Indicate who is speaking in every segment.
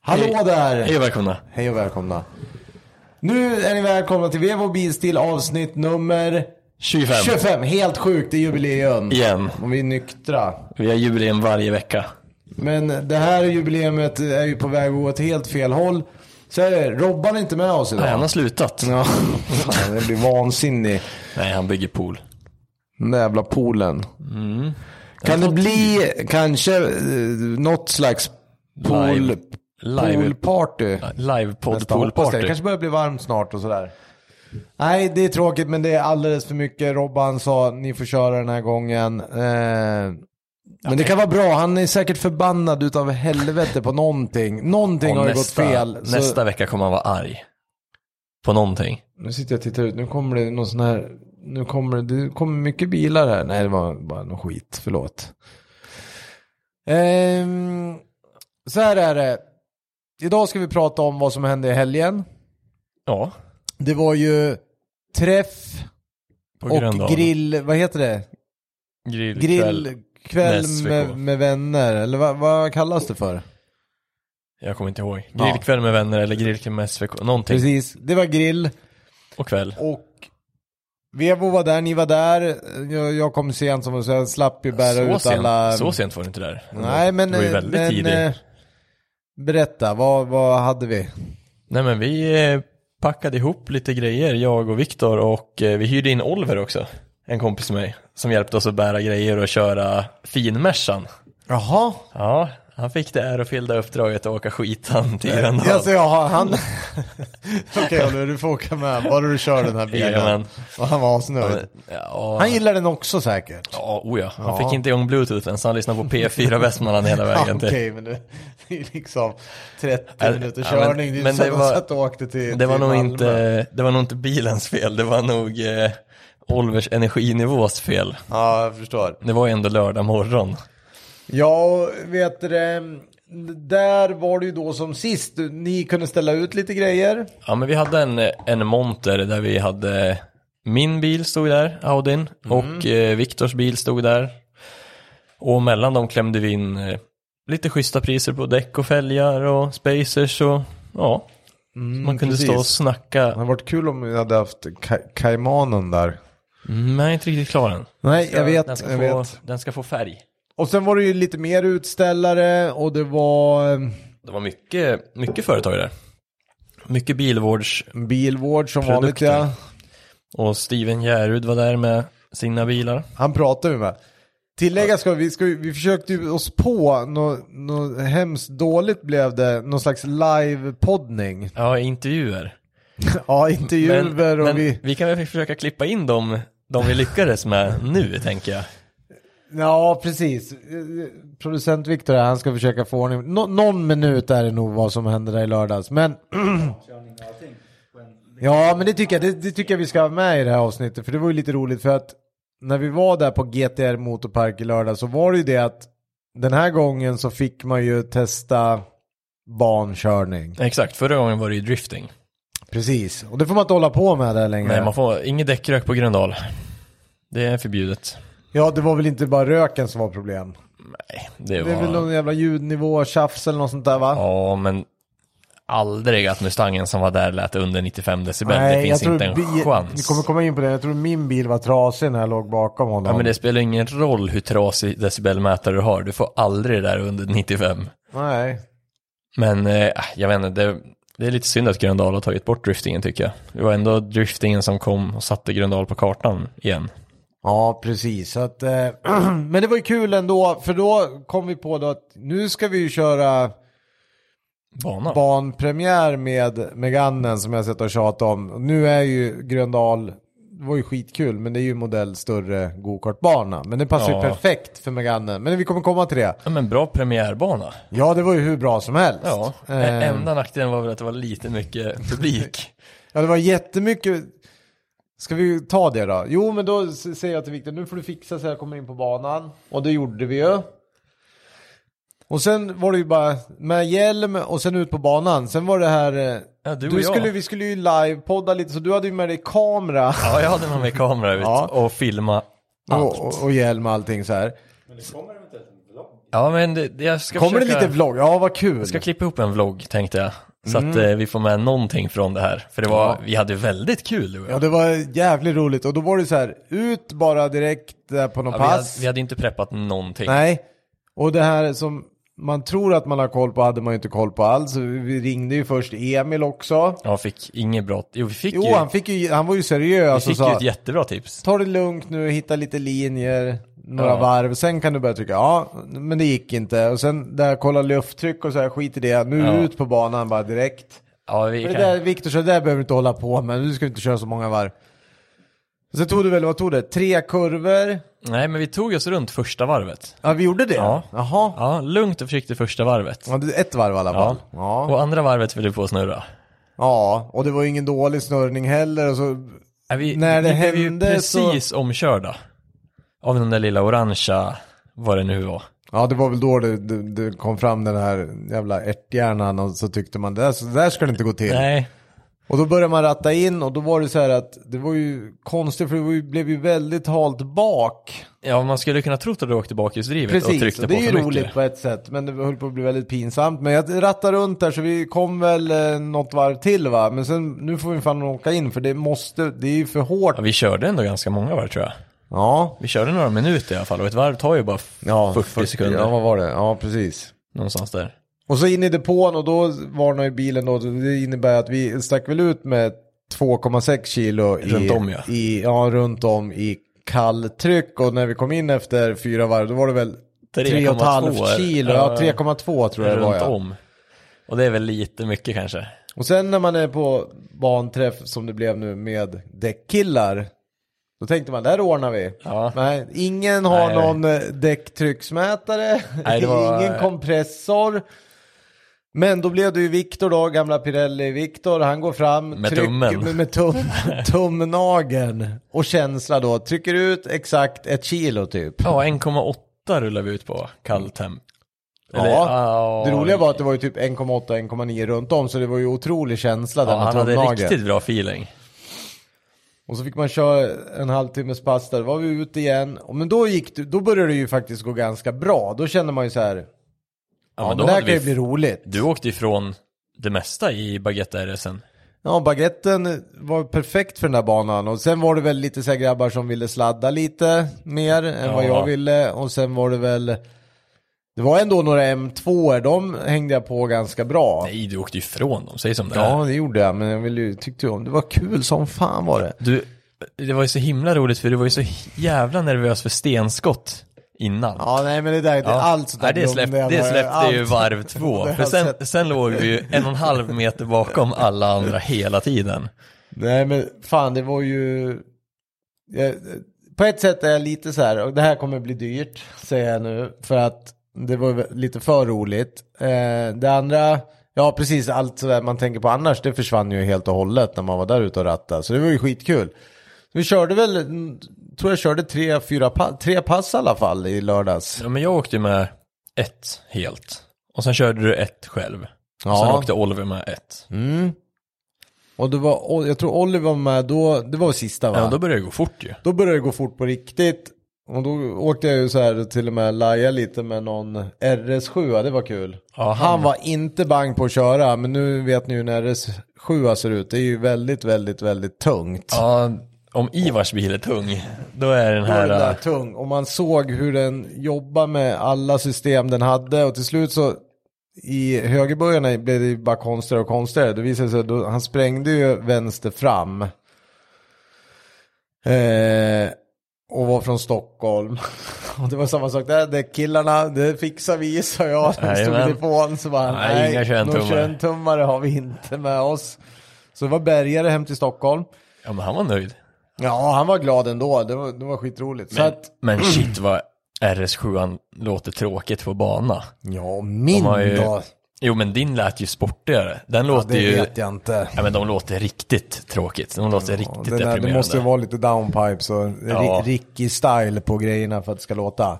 Speaker 1: Hallå där!
Speaker 2: Hej och välkomna.
Speaker 1: Hej och välkomna. Nu är ni välkomna till Vevo Bilstil avsnitt nummer
Speaker 2: 25.
Speaker 1: 25. Helt sjukt, det är jubileum.
Speaker 2: Igen.
Speaker 1: Och vi är nyktra.
Speaker 2: Vi har jubileum varje vecka.
Speaker 1: Men det här jubileumet är ju på väg att gå åt helt fel håll. Så är det, Robban är inte med oss
Speaker 2: Nej, han
Speaker 1: idag.
Speaker 2: har slutat.
Speaker 1: Ja, fan, det blir vansinnig.
Speaker 2: Nej, han bygger pool.
Speaker 1: Den där jävla poolen.
Speaker 2: Mm.
Speaker 1: Kan det bli kanske eh, något slags pool,
Speaker 2: Live. Live.
Speaker 1: poolparty? Nästa.
Speaker 2: Livepodd
Speaker 1: Hoppas Det Det
Speaker 2: poolparty.
Speaker 1: kanske börjar bli varmt snart och sådär. Nej, det är tråkigt men det är alldeles för mycket. Robban sa ni får köra den här gången. Eh, men det kan vara bra. Han är säkert förbannad utav helvete på någonting. Någonting har
Speaker 2: Och
Speaker 1: ju gått fel. Så-
Speaker 2: nästa vecka kommer han vara arg. På någonting.
Speaker 1: Nu sitter jag och tittar ut. Nu kommer det någon sån här. Nu kommer det, det kommer mycket bilar här. Nej, det var bara någon skit. Förlåt. Ehm, så här är det. Idag ska vi prata om vad som hände i helgen.
Speaker 2: Ja.
Speaker 1: Det var ju träff
Speaker 2: På grund
Speaker 1: och
Speaker 2: av
Speaker 1: grill, vad heter det?
Speaker 2: grill. grill.
Speaker 1: Grillkväll
Speaker 2: med SVK.
Speaker 1: med, med vänner, eller vad, vad kallas det för?
Speaker 2: Jag kommer inte ihåg.
Speaker 1: Ja.
Speaker 2: Grillkväll med vänner eller grillkväll med SVK. Någonting.
Speaker 1: Precis, det var grill
Speaker 2: Och kväll.
Speaker 1: och Vevo var där, ni var där, jag, jag kom sent som så jag slapp ju bära
Speaker 2: Så
Speaker 1: ut alla...
Speaker 2: sent, så sent var det inte där.
Speaker 1: Nej men...
Speaker 2: Det var ju
Speaker 1: eh,
Speaker 2: väldigt
Speaker 1: men,
Speaker 2: tidigt.
Speaker 1: eh, Berätta, vad, vad hade vi?
Speaker 2: Nej men vi eh, packade ihop lite grejer, jag och Viktor och eh, vi hyrde in Oliver också, en kompis till mig, som hjälpte oss att bära grejer och köra finmersan.
Speaker 1: Jaha?
Speaker 2: Ja, han fick det ärofyllda uppdraget att åka skitan till Gröndal.
Speaker 1: Alltså jag har han... Okej Oliver, du får åka med, bara du kör den här bilen.
Speaker 2: Jajamän.
Speaker 1: Och han var asnöjd.
Speaker 2: Ja,
Speaker 1: Han gillar den också säkert.
Speaker 2: ja, oh ja. han fick inte igång bluetoothen så han lyssnade på P4 Västmanland hela
Speaker 1: Ja,
Speaker 2: vägen till.
Speaker 1: Okej, men det, det är liksom 30
Speaker 2: Ja,
Speaker 1: minuters
Speaker 2: ja, men-
Speaker 1: körning. det är
Speaker 2: men
Speaker 1: så
Speaker 2: det
Speaker 1: att de
Speaker 2: var-
Speaker 1: satt och åkte till
Speaker 2: Det var,
Speaker 1: till
Speaker 2: nog
Speaker 1: Malmö.
Speaker 2: inte, det var nog inte bilens fel, det var nog eh, Olivers energinivås fel.
Speaker 1: Ja, jag förstår.
Speaker 2: Det var ju ändå lördag morgon.
Speaker 1: Ja, och vet du det, Där var det ju då som sist. Ni kunde ställa ut lite grejer.
Speaker 2: Ja men vi hade en, en monter där vi hade min bil stod där, Audin,
Speaker 1: Mm.
Speaker 2: och eh, Viktors bil stod där. Och mellan dem klämde vi in eh, lite schyssta priser på däck och fälgar och spacers och ja. Man kunde stå och
Speaker 1: Mm, precis.
Speaker 2: snacka.
Speaker 1: hade varit kul om vi hade haft ka- kaimanen där.
Speaker 2: Men Mm, jag är inte riktigt klar än.
Speaker 1: Nej, jag
Speaker 2: den,
Speaker 1: vet,
Speaker 2: ska
Speaker 1: jag
Speaker 2: få,
Speaker 1: vet.
Speaker 2: den ska få färg.
Speaker 1: Och sen var det ju lite mer utställare och det var eh,
Speaker 2: Det var mycket, mycket företag där. Mycket bilvårds
Speaker 1: bilvård som vanligt
Speaker 2: Produkter.
Speaker 1: ja.
Speaker 2: och Steven Järud var där med sina bilar.
Speaker 1: Han pratar vi med. Tillägga ska vi, ska vi, vi försökte ju oss på något nå hemskt dåligt blev det, någon slags livepoddning.
Speaker 2: Ja, intervjuer.
Speaker 1: ja, intervjuer och
Speaker 2: men
Speaker 1: vi...
Speaker 2: kan väl försöka klippa in dem, de vi lyckades med nu, tänker jag.
Speaker 1: Ja, precis. Eh, Producent Viktor här, han ska försöka få ordning. Nå någon minut är det nog vad som hände där i lördags, men... ja, men det tycker, jag, det, det tycker jag vi ska ha med i det här avsnittet, för det var ju lite roligt för att när vi var där på GTR Motorpark i lördag så var det ju det att den här gången så fick man ju testa bankörning.
Speaker 2: Exakt, förra gången var det ju drifting.
Speaker 1: Precis, och det får man inte hålla på med där längre.
Speaker 2: Nej, man får inget däckrök på Gröndal. Det är förbjudet.
Speaker 1: Ja, det var väl inte bara röken som var problem.
Speaker 2: Nej, det
Speaker 1: Det är väl
Speaker 2: var...
Speaker 1: någon jävla ljudnivå, tjafs eller något sånt där va?
Speaker 2: Ja, men aldrig att Mustangen som var där lät under 95 decibel. det finns inte en
Speaker 1: bi- Vi
Speaker 2: chans.
Speaker 1: kommer komma in på det. Jag tror min bil var trasig när jag låg bakom honom.
Speaker 2: Ja, men det spelar ingen roll hur trasig decibelmätare du har. Du får aldrig det där under 95.
Speaker 1: Nej.
Speaker 2: Men eh, jag vet inte, det, det är lite synd att Gröndal har tagit bort driftingen tycker jag. Det var ändå driftingen som kom och satte Gröndal på kartan igen.
Speaker 1: Ja, precis. Så att, eh, men det var ju kul ändå, för då kom vi på då att nu ska vi ju köra
Speaker 2: Bana.
Speaker 1: barnpremiär med Meganen som jag sett och tjatat om. Nu är ju Gröndal, det var ju skitkul, men det är ju modell större gokartbana. Men det passar
Speaker 2: Ja.
Speaker 1: ju perfekt för Meganen. Men vi kommer komma till det.
Speaker 2: ja, men bra premiärbana.
Speaker 1: Ja, det var ju hur bra som helst.
Speaker 2: Ja.
Speaker 1: Eh,
Speaker 2: Enda nackdelen var väl att det var lite mycket publik.
Speaker 1: Ja, det var jättemycket. Ska vi ta det då? Jo, men då s- säger jag till Viktor, nu får du fixa så jag kommer in på banan. Och det gjorde vi ju. Och sen var det ju bara med hjälm och sen ut på banan. Sen var det här... eh,
Speaker 2: Ja, du och
Speaker 1: du
Speaker 2: jag.
Speaker 1: skulle, vi skulle ju livepodda lite, så du hade ju med dig kamera
Speaker 2: Ja, jag hade någon med kamera ut
Speaker 1: Ja.
Speaker 2: och filma allt.
Speaker 1: och, och, och hjälm och allting så här.
Speaker 3: Men det kommer eventuellt en vlogg.
Speaker 2: Ja, men det, det- jag ska
Speaker 1: Kommer det
Speaker 2: försöka...
Speaker 1: lite vlogg? Ja, vad kul.
Speaker 2: Jag ska klippa ihop en vlogg tänkte jag. Så
Speaker 1: Mm.
Speaker 2: att eh, vi får med någonting från det här. För det var, vi hade väldigt kul du och jag.
Speaker 1: Ja, det var jävligt roligt. Och då var det så här, ut bara direkt där på någon
Speaker 2: Ja, vi, hade,
Speaker 1: pass.
Speaker 2: vi hade inte preppat någonting.
Speaker 1: Nej, och det här som man tror att man har koll på hade man ju inte koll på alls. Vi ringde ju först Emil också.
Speaker 2: Ja, fick inget bra... Jo, vi fick ju,
Speaker 1: Jo, han, alltså fick ju, han var ju seriös
Speaker 2: vi
Speaker 1: och
Speaker 2: fick ju
Speaker 1: sa
Speaker 2: ett jättebra tips.
Speaker 1: ta det lugnt nu, hitta lite linjer, några
Speaker 2: Ja.
Speaker 1: varv, sen kan du börja tycka ja, men det gick inte. Och sen där kolla lufttryck och så här, skit i det, nu
Speaker 2: Ja.
Speaker 1: ut på banan bara direkt.
Speaker 2: Ja, vi
Speaker 1: Men
Speaker 2: kan...
Speaker 1: det där, Viktor, så det där behöver du inte hålla på med, nu ska vi inte köra så många varv. Sen tog du väl, vad tog det? Tre kurvor?
Speaker 2: Nej, men vi tog oss runt första varvet.
Speaker 1: Ja, vi gjorde det?
Speaker 2: Ja.
Speaker 1: Jaha.
Speaker 2: Ja, lugnt och försiktigt första varvet.
Speaker 1: Ja, det är ett varv i alla fall. Ja.
Speaker 2: Och andra varvet höll vi på att snurra.
Speaker 1: Ja, och det var ju ingen dålig snurrning heller. Och så,
Speaker 2: Ja, Vi,
Speaker 1: När det
Speaker 2: vi blev ju
Speaker 1: hände
Speaker 2: precis omkörda. Av den där lilla orangea, vad det nu var.
Speaker 1: ja, det var väl då det, det, det kom fram den här jävla ärthjärnan och så tyckte man det där, så där ska det inte gå till.
Speaker 2: Nej,
Speaker 1: Och då började man ratta in och då var det så här att det var ju konstigt för det var ju, blev ju väldigt halt bak.
Speaker 2: ja man skulle kunna tro att du åkte bakhjulsdrivet och
Speaker 1: Precis,
Speaker 2: tryckte
Speaker 1: och det
Speaker 2: på
Speaker 1: är
Speaker 2: för
Speaker 1: ju
Speaker 2: mycket.
Speaker 1: roligt på ett sätt men det höll på att bli väldigt pinsamt. Men jag rattade runt där så vi kom väl eh, något varv till va. Men sen nu får vi fan åka in för det måste, det är ju för hårt.
Speaker 2: Ja, vi körde ändå ganska många varv tror jag.
Speaker 1: Ja,
Speaker 2: Vi körde några minuter i alla fall och ett varv tar ju bara f-
Speaker 1: ja
Speaker 2: 40, sekunder.
Speaker 1: Ja, vad var det? Ja, precis.
Speaker 2: Någonstans där.
Speaker 1: Och så in i depån och då varnar ju bilen då. Det innebär att vi stack väl ut med 2,6 kilo i,
Speaker 2: Runt om, ja.
Speaker 1: i, ja, runt om i kalltryck. Och när vi kom in efter fyra varv då var det väl 3,5 kilo. Ja, 3,2 tror jag det var
Speaker 2: Runt
Speaker 1: ja.
Speaker 2: om. Och det är väl lite mycket kanske.
Speaker 1: Och sen när man är på banträff som det blev nu med däckkillar. Då tänkte man, där ordnar vi.
Speaker 2: Ja.
Speaker 1: Nej, ingen har
Speaker 2: Nej.
Speaker 1: någon eh, däcktrycksmätare,
Speaker 2: Nej, det var-
Speaker 1: ingen kompressor. Men då blev det ju Viktor då, gamla Pirelli-Viktor, han går fram,
Speaker 2: Med tummen.
Speaker 1: med, med tum, tumnageln och känsla då, trycker ut exakt ett kilo typ.
Speaker 2: Ja, 1,8 rullar vi ut på kalltemp.
Speaker 1: Ja, det roliga var att det var ju typ 1,8-1,9 runt om så det var ju otrolig känsla där
Speaker 2: ja,
Speaker 1: med
Speaker 2: han hade
Speaker 1: tumnageln.
Speaker 2: riktigt bra feeling.
Speaker 1: Och så fick man köra en halvtimmes pass där, var vi ute igen. Och Men då gick det, då började det ju faktiskt gå ganska bra. Då kände man ju så här, ja,
Speaker 2: Ja, men
Speaker 1: men
Speaker 2: då
Speaker 1: det här
Speaker 2: hade
Speaker 1: kan ju
Speaker 2: vi-
Speaker 1: bli roligt.
Speaker 2: Du åkte ifrån det mesta i baguette-RSen.
Speaker 1: Ja, baguetten var perfekt för den där banan. Och sen var det väl lite så här grabbar som ville sladda lite mer än vad
Speaker 2: Ja.
Speaker 1: jag ville. Och sen var det väl, det var ändå några m 2 de hängde jag på ganska bra.
Speaker 2: Nej, du åkte ifrån dem, säg som det är.
Speaker 1: Ja, det gjorde jag, men jag ville ju, tyckte ju om det. var kul som fan var det.
Speaker 2: Du, det var ju så himla roligt för du var ju så jävla nervös för stenskott innan.
Speaker 1: Ja, nej men det där, det, allt sånt där
Speaker 2: Nej, det, släpp,
Speaker 1: glömde jag
Speaker 2: det
Speaker 1: bara.
Speaker 2: släppte ju
Speaker 1: Allt.
Speaker 2: varv
Speaker 1: Det
Speaker 2: två.
Speaker 1: har
Speaker 2: För
Speaker 1: jag
Speaker 2: sen,
Speaker 1: sett.
Speaker 2: sen låg vi ju en och en halv meter bakom alla andra hela tiden.
Speaker 1: Nej men fan det var ju... Jag, på ett sätt är jag lite så här, och det här kommer bli dyrt säger jag nu. För att det var lite för roligt. Eh, det andra, ja precis allt sådär man tänker på annars det försvann ju helt och hållet när man var där ute och rattade. Så det var ju skitkul. Vi körde väl, mm, tror jag körde tre, fyra, pa- tre pass i alla fall i lördags.
Speaker 2: Ja, men jag åkte ju med ett helt. Och sen körde du ett själv. Och sen
Speaker 1: Ja. Mm.
Speaker 2: åkte Oliver med ett.
Speaker 1: Och det var, jag tror Oliver var med då, det var sista va?
Speaker 2: Ja, då började det gå fort ju.
Speaker 1: Då började det gå fort på riktigt. Och då åkte jag ju så här till och med laja lite med någon RS7, det var kul.
Speaker 2: Ja,
Speaker 1: han... var inte bang på att köra, men nu vet ni ju hur en RS7 ser ut. Det är ju väldigt, väldigt, väldigt tungt.
Speaker 2: Ja, om Ivars bil är tung, då är den
Speaker 1: Då är
Speaker 2: här...
Speaker 1: den där
Speaker 2: äh,
Speaker 1: tung. Och man såg hur den jobbar med alla system den hade och till slut så i högerböjarna blev det ju bara konstigare och konstigare. Det visade sig att då- han sprängde ju vänster fram. Eh, och var från Stockholm. Och det var samma sak där, det killarna, det fixar vi sa jag. De stod i
Speaker 2: Jajamän.
Speaker 1: telefon så bara,
Speaker 2: Nej,
Speaker 1: nej,
Speaker 2: inga 21
Speaker 1: någon
Speaker 2: tummare."
Speaker 1: 21 tummare har vi inte med oss. Så det var bärgare hem till Stockholm.
Speaker 2: Ja, men han var nöjd.
Speaker 1: Ja, han var glad ändå, det var, det var skitroligt. så
Speaker 2: Men,
Speaker 1: att,
Speaker 2: men shit vad RS7 låter tråkigt på bana.
Speaker 1: Ja, min
Speaker 2: har ju-
Speaker 1: då?
Speaker 2: Jo men din lät ju sportigare. Den låter
Speaker 1: Det
Speaker 2: ju...
Speaker 1: vet jag inte.
Speaker 2: Ja men de låter riktigt tråkigt. De låter
Speaker 1: Den
Speaker 2: riktigt
Speaker 1: där,
Speaker 2: deprimerande.
Speaker 1: det måste ju vara lite downpipes och
Speaker 2: Ja.
Speaker 1: ja. Ricky-style på grejerna för att det ska låta.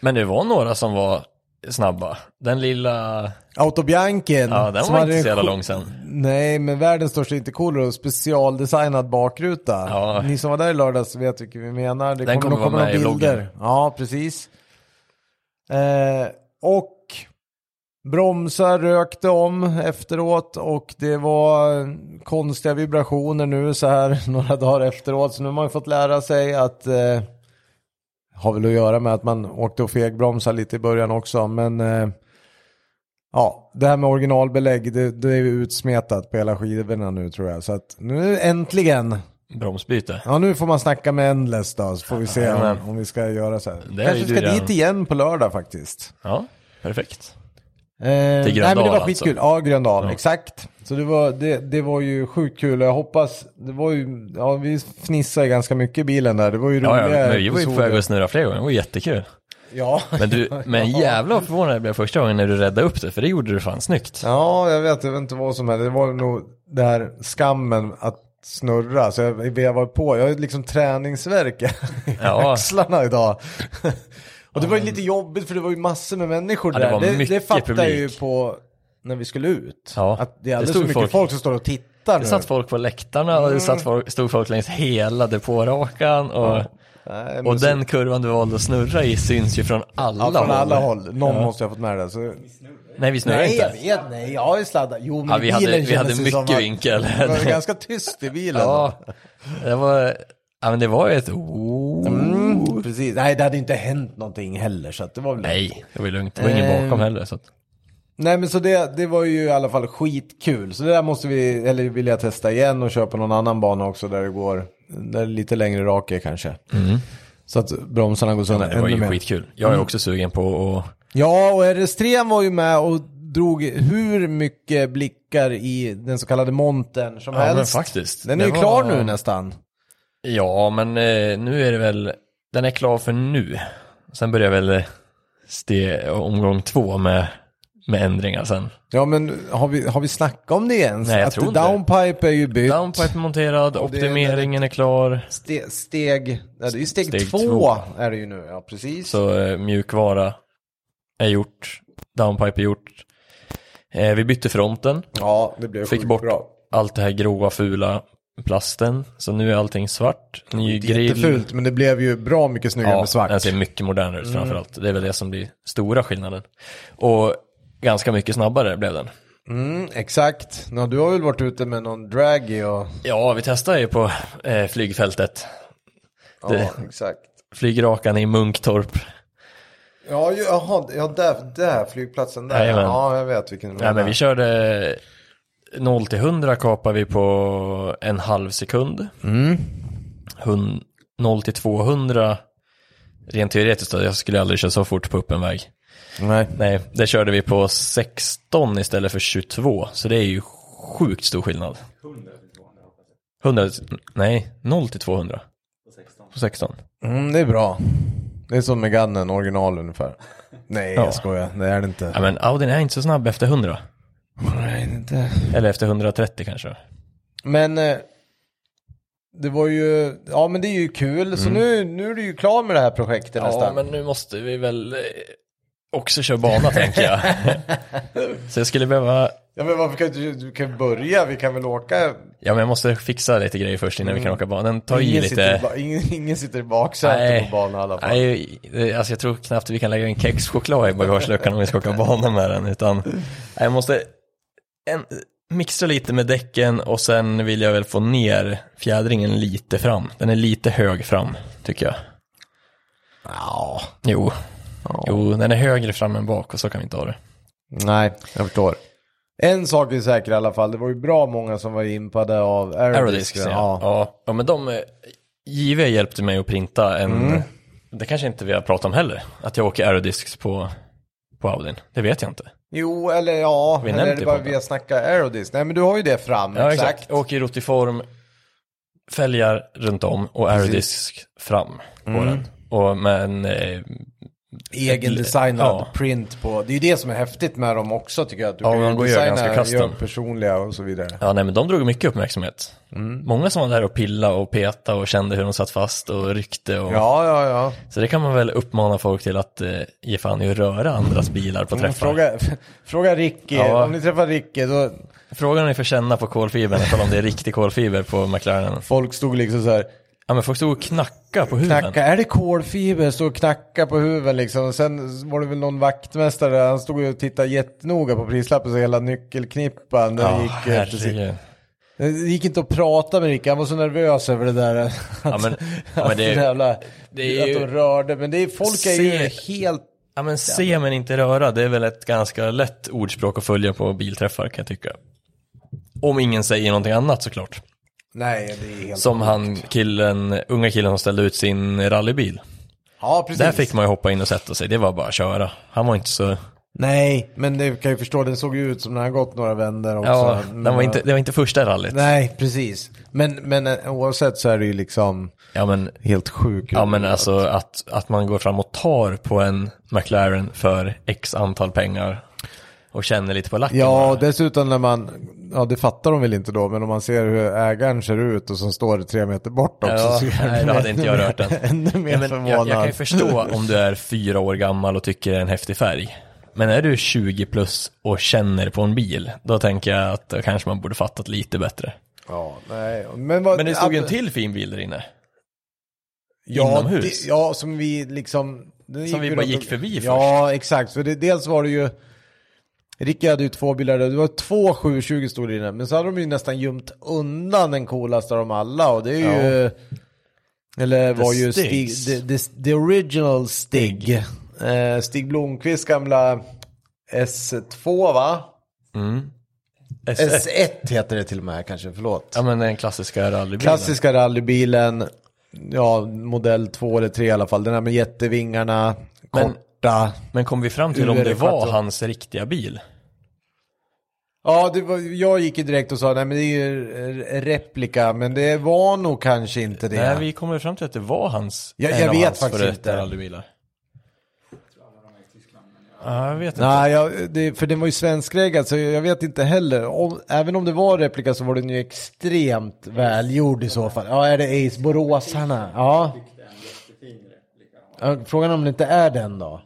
Speaker 2: Men det var några som var snabba. Den lilla...
Speaker 1: Autobianken.
Speaker 2: Ja den
Speaker 1: som
Speaker 2: var
Speaker 1: hade
Speaker 2: inte
Speaker 1: en
Speaker 2: så jävla
Speaker 1: sjuk-
Speaker 2: långsam.
Speaker 1: Nej, men världens största intercooler och specialdesignad bakruta.
Speaker 2: Ja.
Speaker 1: Ni som var där i lördags vet vilken vi menar. Det
Speaker 2: Den kommer
Speaker 1: nog
Speaker 2: vara
Speaker 1: nog
Speaker 2: med i
Speaker 1: bilder.
Speaker 2: vloggen.
Speaker 1: Ja, precis. Eh, och bromsar rökte om efteråt och det var konstiga vibrationer nu så här några dagar efteråt. Så nu har man ju fått lära sig att eh, har väl att göra med att man åkte och fegbromsade lite i början också. Men eh, ja, det här med originalbelägg det, det är ju utsmetat på hela skidorna nu tror jag. Så att nu äntligen
Speaker 2: Bromsbyte.
Speaker 1: Ja, nu får man snacka med Endless då, så får vi se om,
Speaker 2: Jajamän.
Speaker 1: om vi ska göra så här.
Speaker 2: Det är
Speaker 1: Kanske
Speaker 2: ju
Speaker 1: ska
Speaker 2: dyrare.
Speaker 1: dit igen på lördag faktiskt.
Speaker 2: Ja, perfekt.
Speaker 1: Eh, nej, men det
Speaker 2: Gröndal,
Speaker 1: var
Speaker 2: alltså.
Speaker 1: skitkul. Ja, Gröndal, exakt. Så det var, det, det var ju sjukt kul. Jag hoppas, det var ju, ja vi fnissade ganska mycket i bilen där. Det var ju
Speaker 2: Ja,
Speaker 1: roliga
Speaker 2: ja, men vi var ju på
Speaker 1: episoder.
Speaker 2: väg att snurra fler gånger, det var jättekul.
Speaker 1: Ja.
Speaker 2: Men du, men jävla förvånad jag blev första gången när du räddade upp det, för det gjorde du fan snyggt.
Speaker 1: ja, jag vet, jag vet inte vad som hände. Det var nog det här skammen att snurra. Så jag vevade på. Jag har ju liksom träningsvärk i
Speaker 2: Ja.
Speaker 1: axlarna idag. Och det var ju lite jobbigt för det var ju massor med människor
Speaker 2: Ja, det
Speaker 1: där.
Speaker 2: var
Speaker 1: Det, det
Speaker 2: mycket
Speaker 1: fattade jag ju
Speaker 2: publik.
Speaker 1: på när vi skulle ut.
Speaker 2: Ja,
Speaker 1: Att det
Speaker 2: det
Speaker 1: är alldeles
Speaker 2: stod
Speaker 1: för mycket folk.
Speaker 2: folk.
Speaker 1: som står och tittar nu.
Speaker 2: Det satt folk på läktarna och det
Speaker 1: Mm.
Speaker 2: satt folk, stod folk längs hela depårakan och,
Speaker 1: Nej, men
Speaker 2: och
Speaker 1: så-
Speaker 2: den kurvan du valde att snurra i syns ju från alla,
Speaker 1: Ja, från alla
Speaker 2: håll.
Speaker 1: håll. Någon måste ha fått med det. Så...
Speaker 2: Nej, vi snurrade
Speaker 1: Nej, jag
Speaker 2: inte.
Speaker 1: vet. Nej, jag har ju sladdat. Jo, men
Speaker 2: Ja,
Speaker 1: i
Speaker 2: vi hade,
Speaker 1: bilen
Speaker 2: vi
Speaker 1: kändes
Speaker 2: hade
Speaker 1: det som
Speaker 2: mycket
Speaker 1: att-
Speaker 2: vinkel.
Speaker 1: Det var ganska tyst i bilen.
Speaker 2: ja, det var, ja, men det var ju ett
Speaker 1: Mm, precis. Nej, det hade inte hänt någonting heller. Så att det var väl...
Speaker 2: Nej, det var ju lugnt. Det var ingen bakom heller. Så att,
Speaker 1: Nej men så det, det var ju i alla fall skitkul. Så det där måste vi, eller vill jag testa igen och köpa någon annan bana också där det går, där det är lite längre rake kanske. Så att bromsarna går sönder
Speaker 2: Mm. det var
Speaker 1: ännu
Speaker 2: ju
Speaker 1: mer.
Speaker 2: skitkul. Jag är också sugen på att
Speaker 1: Ja och RS3 var ju med och drog hur mycket blickar i den så kallade montern som
Speaker 2: Ja, men
Speaker 1: helst.
Speaker 2: faktiskt.
Speaker 1: Den är ju
Speaker 2: Det var-
Speaker 1: klar nu nästan.
Speaker 2: Ja, men eh, nu är det väl, den är klar för nu. Sen börjar väl eh, ste, omgång två med, med ändringar sen.
Speaker 1: Ja men har vi, har vi snackat om det ens?
Speaker 2: Nej, jag
Speaker 1: att
Speaker 2: tror inte det.
Speaker 1: downpipe är ju bytt.
Speaker 2: Downpipe monterad,
Speaker 1: det-
Speaker 2: optimeringen är klar,
Speaker 1: Ste, steg, ja, det är ju steg,
Speaker 2: Steg
Speaker 1: två,
Speaker 2: två.
Speaker 1: är det ju nu. Ja precis.
Speaker 2: så eh, mjukvara är gjort, downpipe är gjort. Eh, vi bytte fronten,
Speaker 1: Ja det blev
Speaker 2: Fick
Speaker 1: sjukt
Speaker 2: bort
Speaker 1: bra.
Speaker 2: allt det här gråa fula plasten, så nu är allting svart, ny grill.
Speaker 1: Jättefult, men det blev ju bra mycket snyggare med svart. Mm.
Speaker 2: den ser alltså, mycket modernare ut framförallt. Det är väl det som blir stora skillnaden. Och ganska mycket snabbare blev den.
Speaker 1: Mm, exakt. Nå, du har väl varit ute med någon draggy och...
Speaker 2: Ja, vi testar ju på eh, flygfältet.
Speaker 1: Ja, exakt.
Speaker 2: Flygrakan i Munktorp.
Speaker 1: Ja, ju- jaha, ja där, där, flygplatsen där.
Speaker 2: Jajamän.
Speaker 1: Ja, jag vet vilken du
Speaker 2: Nej, men
Speaker 1: menar.
Speaker 2: vi körde 0 till 100 kapar vi på en halv sekund.
Speaker 1: Mm.
Speaker 2: Hun- 0 till 200 rent teoretiskt, då, jag skulle aldrig köra så fort på öppen väg.
Speaker 1: Nej.
Speaker 2: Nej, det körde vi på 16 istället för 22, så det är ju sjukt stor skillnad. 100 till 200 Nej, 0 till 200. På 16.
Speaker 1: Mm, det är bra. Det är som med Gunnen, original ungefär. Nej, jag skojar. Det är det inte.
Speaker 2: Ja, men Audin är inte så snabb efter 100.
Speaker 1: Nej, det är inte.
Speaker 2: Eller efter 130 kanske.
Speaker 1: Men eh, det var ju... Ja, men det är ju kul. Så nu, nu är du ju klar med det här projektet
Speaker 2: Ja,
Speaker 1: nästan.
Speaker 2: men nu måste vi väl eh, också köra bana tänker jag. så jag skulle behöva,
Speaker 1: Ja, men varför kan du, du kan ju börja? Vi kan väl åka...
Speaker 2: ja men jag måste fixa lite grejer först innan vi kan åka banan. Ta i
Speaker 1: Mm. Ingen sitter, i
Speaker 2: lite.
Speaker 1: ba- ingen, ingen sitter i baksätet på banan i alla fall.
Speaker 2: nej, eh, alltså jag tror knappt vi kan lägga in kexchoklad i bagageluckan om vi ska åka bana med den. Utan nej, jag måste en, mixa lite med däcken och sen vill jag väl få ner fjädringen lite fram. Den är lite hög fram tycker jag.
Speaker 1: Ja.
Speaker 2: Jo, jo den är högre fram än bak och så kan vi inte ha det.
Speaker 1: Nej, jag förstår. En sak är säker i alla fall, det var ju bra många som var impade av
Speaker 2: Aerodiscs,
Speaker 1: aerodisken.
Speaker 2: ja. Ja. ja, men de, eh, JW hjälpte mig att printa en, det kanske inte vi har pratat om heller, att jag åker aerodiscs på, på Audin. Det vet jag inte.
Speaker 1: Jo, eller ja,
Speaker 2: Vi
Speaker 1: eller är
Speaker 2: nämnde
Speaker 1: det
Speaker 2: det
Speaker 1: bara
Speaker 2: på det.
Speaker 1: vi har snackat aerodisc? Nej, men du har ju det fram,
Speaker 2: Ja,
Speaker 1: exakt.
Speaker 2: exakt. Jag åker i rotiform, fälgar runt om och aerodisc fram på
Speaker 1: Mm.
Speaker 2: den. Och med en, eh,
Speaker 1: Egen designad
Speaker 2: Ja.
Speaker 1: print på, det är ju det som är häftigt med dem också tycker jag. Att du
Speaker 2: Ja, man går ju ganska custom.
Speaker 1: gör personliga och så vidare.
Speaker 2: ja nej men de drog mycket uppmärksamhet.
Speaker 1: Mm.
Speaker 2: Många som var där och pilla och peta och kände hur de satt fast och ryckte och
Speaker 1: Ja, ja, ja.
Speaker 2: så det kan man väl uppmana folk till att eh, ge fan i att röra andras bilar på träffar.
Speaker 1: Mm. Fråga, fråga Ricky,
Speaker 2: Ja.
Speaker 1: om ni träffar Ricky då,
Speaker 2: Frågan är för känna på kolfibern, ifall om det är riktig kolfiber på McLaren.
Speaker 1: folk stod liksom så här,
Speaker 2: Ja men folk stod och knackade på huven.
Speaker 1: Knacka, är det kolfiber? Stod och knacka på huven liksom. Och Sen var det väl någon vaktmästare, han stod och tittade jättenoga på prislappen så hela nyckelknippan. Den
Speaker 2: Ja,
Speaker 1: gick efter sig.
Speaker 2: herregud.
Speaker 1: Det gick inte att prata med Rickard, han var så nervös över det där. Att,
Speaker 2: Ja, men- ja, men det-
Speaker 1: att, jävla,
Speaker 2: det är ju-
Speaker 1: att de rörde, men det är, folk är ju
Speaker 2: Se-
Speaker 1: helt...
Speaker 2: Ja men se men inte röra, det är väl ett ganska lätt ordspråk att följa på bilträffar kan jag tycka. Om ingen säger någonting annat såklart.
Speaker 1: Nej, det är helt...
Speaker 2: Som han killen, unga killen som ställde ut sin rallybil.
Speaker 1: ja, precis.
Speaker 2: Där fick man ju hoppa in och sätta sig, det var bara att köra. Han var inte så...
Speaker 1: Nej, men det kan jag ju förstå, den såg ju ut som när han gått några vändor också.
Speaker 2: Ja, den var
Speaker 1: Men-
Speaker 2: inte, det var inte första rallyt.
Speaker 1: Nej, precis. Men, men eh, oavsett så är det ju liksom
Speaker 2: Ja men,
Speaker 1: helt sjukt.
Speaker 2: ja, men alltså att, att man går fram och tar på en McLaren för x antal pengar och känner lite på lacken.
Speaker 1: Ja,
Speaker 2: bara.
Speaker 1: och dessutom när man, ja det fattar de väl inte då, men om man ser hur ägaren ser ut och som står tre meter bort också
Speaker 2: Ja,
Speaker 1: så gör
Speaker 2: nej,
Speaker 1: det
Speaker 2: då hade
Speaker 1: mig
Speaker 2: inte jag rört den.
Speaker 1: Ännu mer
Speaker 2: Ja, men
Speaker 1: förvånad.
Speaker 2: jag, jag kan ju förstå om du är fyra år gammal och tycker det är en häftig färg. Men är du 20 plus och känner på en bil, då tänker jag att då kanske man borde fattat lite bättre.
Speaker 1: Ja, nej. Men, vad,
Speaker 2: Men det stod ju en
Speaker 1: att-
Speaker 2: till fin bil där inne.
Speaker 1: ja,
Speaker 2: inomhus.
Speaker 1: det- Ja, som vi liksom... det gick
Speaker 2: vi bara
Speaker 1: runt och-
Speaker 2: gick förbi
Speaker 1: Ja, exakt. För det, dels var det ju... Rickard hade ju två bilar där, det var två 720 stod det inne, men så hade de ju nästan gömt undan den coolaste av dem alla och det är ju... Eller var ju Stig,
Speaker 2: Stigs.
Speaker 1: the, the, the original Stig. Eh, Stig Blomqvist gamla S2 va?
Speaker 2: SS.
Speaker 1: S1 heter det till och med kanske, förlåt.
Speaker 2: Ja men den klassiska rallybilen.
Speaker 1: Klassiska rallybilen, ja modell 2 eller 3 i alla fall. Den här med jättevingarna,
Speaker 2: Men-
Speaker 1: korta.
Speaker 2: Men kom vi fram till om det var
Speaker 1: UR40.
Speaker 2: hans riktiga bil?
Speaker 1: Ja, det var, jag gick ju direkt och sa nej men det är ju eh, replika, men det var nog kanske inte det.
Speaker 2: Nej, vi kommer fram till att det var hans.
Speaker 1: Jag-
Speaker 2: en
Speaker 1: jag
Speaker 2: av
Speaker 1: vet
Speaker 2: hans
Speaker 1: faktiskt
Speaker 2: före detta
Speaker 1: inte.
Speaker 2: Rallybilar. Ja, jag vet inte.
Speaker 1: Nej, jag, det, för den var ju svenskreggad så jag vet inte heller. Om, även om det var replika så var den ju extremt välgjord i så fall. Ja, är det Ace Boråsarna? Ja. Ja, Frågan är om det inte är den då.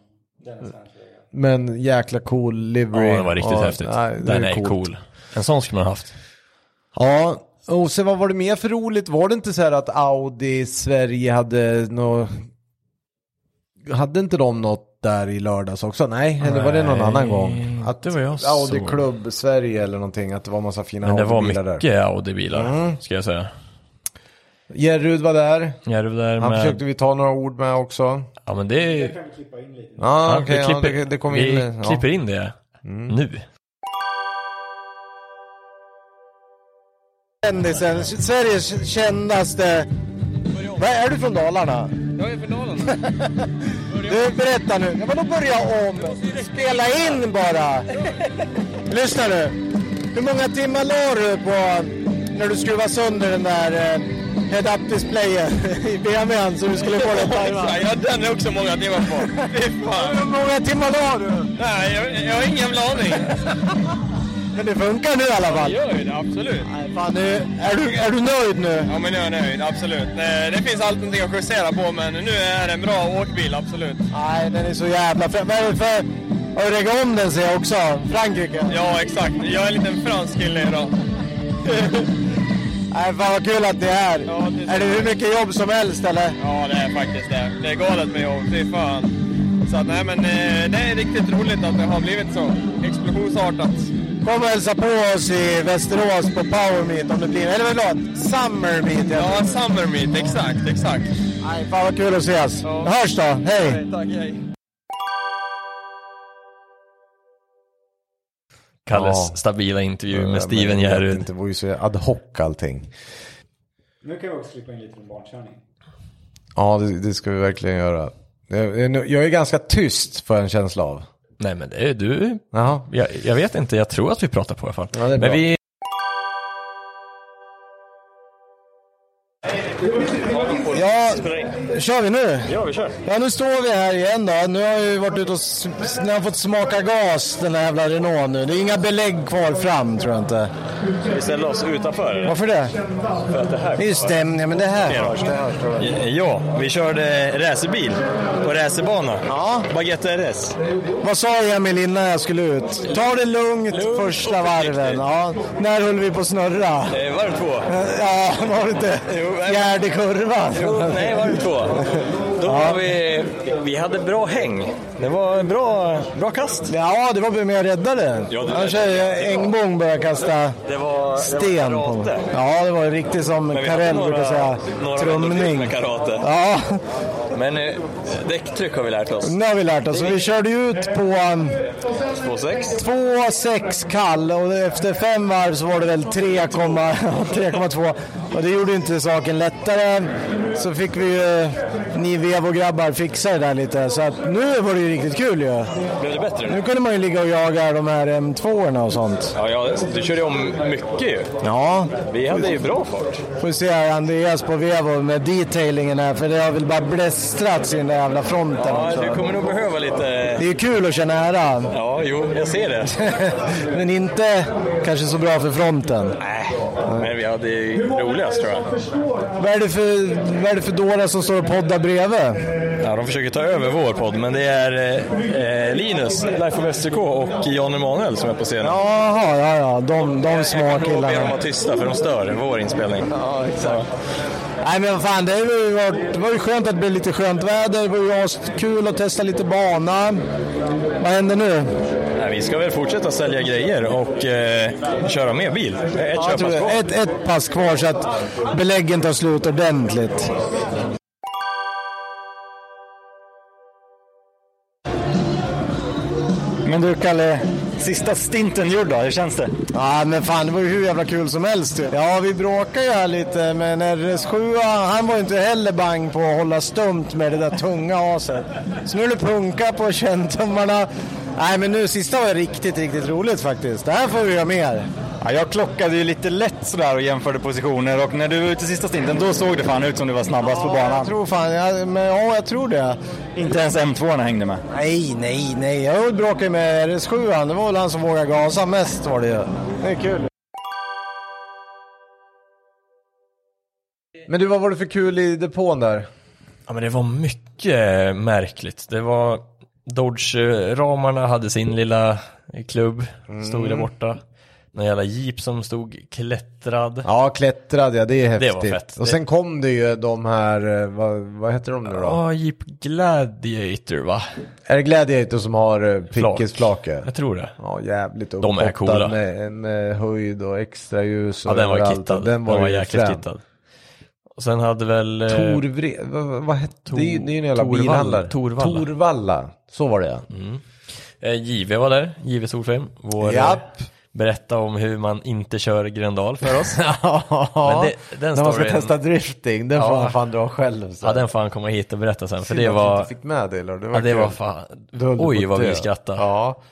Speaker 1: Men jäkla cool livery.
Speaker 2: Ja, det var riktigt
Speaker 1: Ja,
Speaker 2: häftigt.
Speaker 1: nej, det
Speaker 2: den är
Speaker 1: coolt.
Speaker 2: cool. En sån skulle man ha haft.
Speaker 1: Ja, och sen vad var det mer för roligt? Var det inte så här att Audi Sverige hade något... Hade inte de något där i lördags också? Nej, eller var det någon
Speaker 2: Nej,
Speaker 1: annan gång? Att
Speaker 2: det var jag
Speaker 1: Audi
Speaker 2: såg.
Speaker 1: Klubb Sverige eller någonting, att det Mm. var massa fina
Speaker 2: Men det var
Speaker 1: Audi-bilar där.
Speaker 2: mycket Audi-bilar, ska jag säga.
Speaker 1: Jerrud var där,
Speaker 2: Järv där
Speaker 1: han
Speaker 2: med...
Speaker 1: försökte vi ta några ord med också.
Speaker 2: Ja, men det...
Speaker 1: Ja,
Speaker 2: ja,
Speaker 1: okej,
Speaker 2: vi
Speaker 1: ja,
Speaker 2: klipper,
Speaker 1: det, det kom
Speaker 2: vi
Speaker 1: in. Ja. Mm.
Speaker 2: klipper in det nu.
Speaker 1: Kändisen, Sveriges kändaste... Vad är du från Dalarna?
Speaker 4: Jag är från Dalarna.
Speaker 1: Du, berätta nu. Vadå börja om? Spela in bara. Lyssna nu. Hur många timmar la du på när du skruvade sönder den där eh, head-up displayen i BMWn så du skulle få den tajmad?
Speaker 4: Ja, den är också många timmar på. Fy fan.
Speaker 1: Hur många timmar la du?
Speaker 4: Nej, jag, jag har ingen jävla aning.
Speaker 1: Men det funkar nu i alla fall.
Speaker 4: gör ju det, absolut.
Speaker 1: Nej, Fan, nu, är, du, är du nöjd nu?
Speaker 4: Ja, men nu är jag nöjd, absolut. Eh, Det finns alltid någonting att justera på, men nu är det en bra åkbil, absolut.
Speaker 1: Nej, den är så jävla fräck. Vad är det för... Har du reggat om den ser jag också. Frankrike.
Speaker 4: Ja, exakt. Jag är en liten fransk kille idag.
Speaker 1: Nej, fan vad kul att ni är här.
Speaker 4: Ja, det är
Speaker 1: Är det hur mycket jobb som helst eller?
Speaker 4: Ja, det är faktiskt det. Det är galet med jobb, fy fan. Så att, nej, men eh, det är riktigt roligt att det har blivit så explosionsartat.
Speaker 1: Kom och hälsa på oss i Västerås på Power Meet om det blir, eller förlåt, Summer Meet. Ja.
Speaker 4: Ja, Summer Meet, exakt, exakt.
Speaker 1: Nej, fan vad kul att ses.
Speaker 4: Ja.
Speaker 1: Hörs då, hej!
Speaker 4: Tack, hej.
Speaker 2: Kalles stabila intervju med Steven Järryd.
Speaker 1: Det var ju så ad hoc allting.
Speaker 5: Nu kan vi också klippa in lite från barnkörning.
Speaker 1: Ja, det, det ska vi verkligen göra. Jag, jag- jag är ganska tyst får jag en känsla av.
Speaker 2: Nej, men det är du.
Speaker 1: Jaha.
Speaker 2: Jag, jag vet inte, jag tror att vi pratar på i alla fall.
Speaker 1: Ja, det är
Speaker 2: men
Speaker 1: bra.
Speaker 2: vi...
Speaker 1: Ja, Kör vi nu?
Speaker 6: Ja, vi kör.
Speaker 1: Ja, nu står vi här igen då. Nu har jag ju varit ute och s- s- ni har fått smaka gas, den här jävla Renault nu. Det är inga belägg kvar fram, tror jag inte.
Speaker 6: Vi ställer oss utanför. eller?
Speaker 1: Varför det?
Speaker 6: För att det här
Speaker 1: Det är ju stämning, ja, men det här hörs. Det hörs tror jag.
Speaker 6: Ja, vi körde racerbil på racerbana. Ja. Baguette RS.
Speaker 1: Vad sa Emil innan jag skulle ut? Ta det lugnt
Speaker 6: Lugnt
Speaker 1: första
Speaker 6: och
Speaker 1: varven.
Speaker 6: försiktigt.
Speaker 1: Ja. När höll vi på att snurra?
Speaker 6: Eh, Varv två.
Speaker 1: Ja, var det inte?
Speaker 6: Jo, men-
Speaker 1: Fjärde kurvan.
Speaker 6: Jo, nej, varv två. Då var vi, vi hade bra häng. Det var bra, bra kast.
Speaker 1: Ja, det var med och räddade.
Speaker 6: Ja, det
Speaker 1: Annars är Engbom började kasta
Speaker 6: Det var,
Speaker 1: sten
Speaker 6: det var
Speaker 1: på
Speaker 6: karate.
Speaker 1: Ja, det var riktigt som
Speaker 6: Men vi hade
Speaker 1: Karell brukar säga.
Speaker 6: några vändor till
Speaker 1: Trumning.
Speaker 6: med karate.
Speaker 1: Ja,
Speaker 6: Men eh, däcktryck har vi lärt oss.
Speaker 1: nu har vi lärt oss. Vi körde ut på um,
Speaker 6: 2,6.
Speaker 1: 2,6 kall och efter fem varv så var det väl 3,2. Och det gjorde inte saken lättare. Så fick vi ju, ni Vevo grabbar fixa det där lite. Så att nu var det ju riktigt kul ju.
Speaker 6: Blev det bättre
Speaker 1: Nu
Speaker 6: nu?
Speaker 1: kunde man ju ligga och jaga de här m 2 och sånt.
Speaker 6: Ja, ja, du körde om mycket ju.
Speaker 1: Ja,
Speaker 6: Vi hade ju bra fart.
Speaker 1: får se här Andreas på Vevo med detailingen här för det har väl bara blästrats i den där jävla fronten
Speaker 6: Ja,
Speaker 1: också.
Speaker 6: du kommer nog behöva lite...
Speaker 1: Det är ju kul att känna äran.
Speaker 6: Ja, jo, jag ser det.
Speaker 1: Men inte kanske så bra för fronten.
Speaker 6: Nej, men vi hade ju roligast tror jag.
Speaker 1: Vad är det för, vad är det för dårar som står och poddar bredvid?
Speaker 6: Ja, de försöker ta över vår podd, men det är eh, eh, Linus, Life of STK och Jan Emanuel som är på scenen.
Speaker 1: Jaha, ja, ja. De, de små
Speaker 6: jag kommer nog att be dem
Speaker 1: killarna.
Speaker 6: vara tysta för de stör vår inspelning. Ja, exakt.
Speaker 1: Nej men vad fan, det, har ju varit, det var ju skönt att det blev lite skönt väder. Det var ju kul att testa lite bana. Vad händer nu?
Speaker 6: Nej, vi ska väl fortsätta sälja grejer och eh, köra mer bil. Ett
Speaker 1: Jag tror Eh,
Speaker 6: köpas kvar.
Speaker 1: ett, ett pass kvar så att beläggen tar slut ordentligt.
Speaker 4: Men du Kalle, sista stinten gjord då, hur känns det?
Speaker 1: Ja men fan, det var ju hur jävla kul som helst ju. Ja, vi bråkade ju här lite men RS7, han var ju inte heller bang på att hålla stumt med det där tunga aset. Så nu är det punka på känntummarna. Nej men nu, sista var riktigt, riktigt roligt faktiskt. Det här får vi göra mer.
Speaker 4: Ja, jag klockade ju lite lätt sådär och jämförde positioner och när du var ute sista stinten då såg det fan ut som du var snabbast på
Speaker 1: Jag
Speaker 4: banan.
Speaker 1: tror fan, jag, men ja jag tror det.
Speaker 4: Inte ens m 2 hängde med.
Speaker 1: Nej, nej, nej. Jag bråkade ju med RS7, det var väl han som vågade gasa mest var det ju. Det är kul.
Speaker 7: Men du, vad var det för kul i depån där?
Speaker 2: Ja men det var mycket märkligt. Det var Dodge-ramarna hade sin lilla klubb, stod där
Speaker 7: Mm.
Speaker 2: borta. Någon jävla jeep som stod klättrad.
Speaker 7: Ja, klättrade ja, det är
Speaker 2: Det
Speaker 7: häftigt.
Speaker 2: var fett.
Speaker 7: Och sen kom det ju de här, eh, vad, vad heter de nu då?
Speaker 2: Ja, Jeep Gladiator va?
Speaker 7: Är det Gladiator som har eh, pickisflake?
Speaker 2: Jag tror det.
Speaker 7: Ja, jävligt
Speaker 2: De är
Speaker 7: upphottad
Speaker 2: coola.
Speaker 7: Med, med höjd och extra ljus och
Speaker 2: Ja, den var
Speaker 7: överallt.
Speaker 2: kittad.
Speaker 7: Den var, ju
Speaker 2: jäkligt
Speaker 7: frän.
Speaker 2: kittad. Och sen hade väl... eh,
Speaker 7: Tor Vre- vad, vad hette
Speaker 2: Tor-
Speaker 7: det? är ju- Det är ju en jävla
Speaker 2: Torvall-
Speaker 7: bilhandlare.
Speaker 2: Torvalla.
Speaker 7: Torvalla. Så var det ja.
Speaker 2: Eh, JV var där, JV Solfem. Vår,
Speaker 7: Japp.
Speaker 2: eh, Berätta om hur man inte kör Gröndal för oss.
Speaker 7: Ja,
Speaker 2: Men det- den
Speaker 7: när man ska
Speaker 2: storyn-
Speaker 7: testa drifting, den får
Speaker 2: Ja.
Speaker 7: han fan dra själv. Så.
Speaker 2: ja, den får han komma hit och berätta sen. För
Speaker 7: Synd
Speaker 2: det
Speaker 7: att du
Speaker 2: var...
Speaker 7: inte fick med det, eller? Det var,
Speaker 2: Ja, det
Speaker 7: kul.
Speaker 2: var fan...
Speaker 7: Du höll
Speaker 2: Oj,
Speaker 7: på
Speaker 2: vad
Speaker 7: att
Speaker 2: vi
Speaker 7: dö.
Speaker 2: skrattade.
Speaker 7: Ja.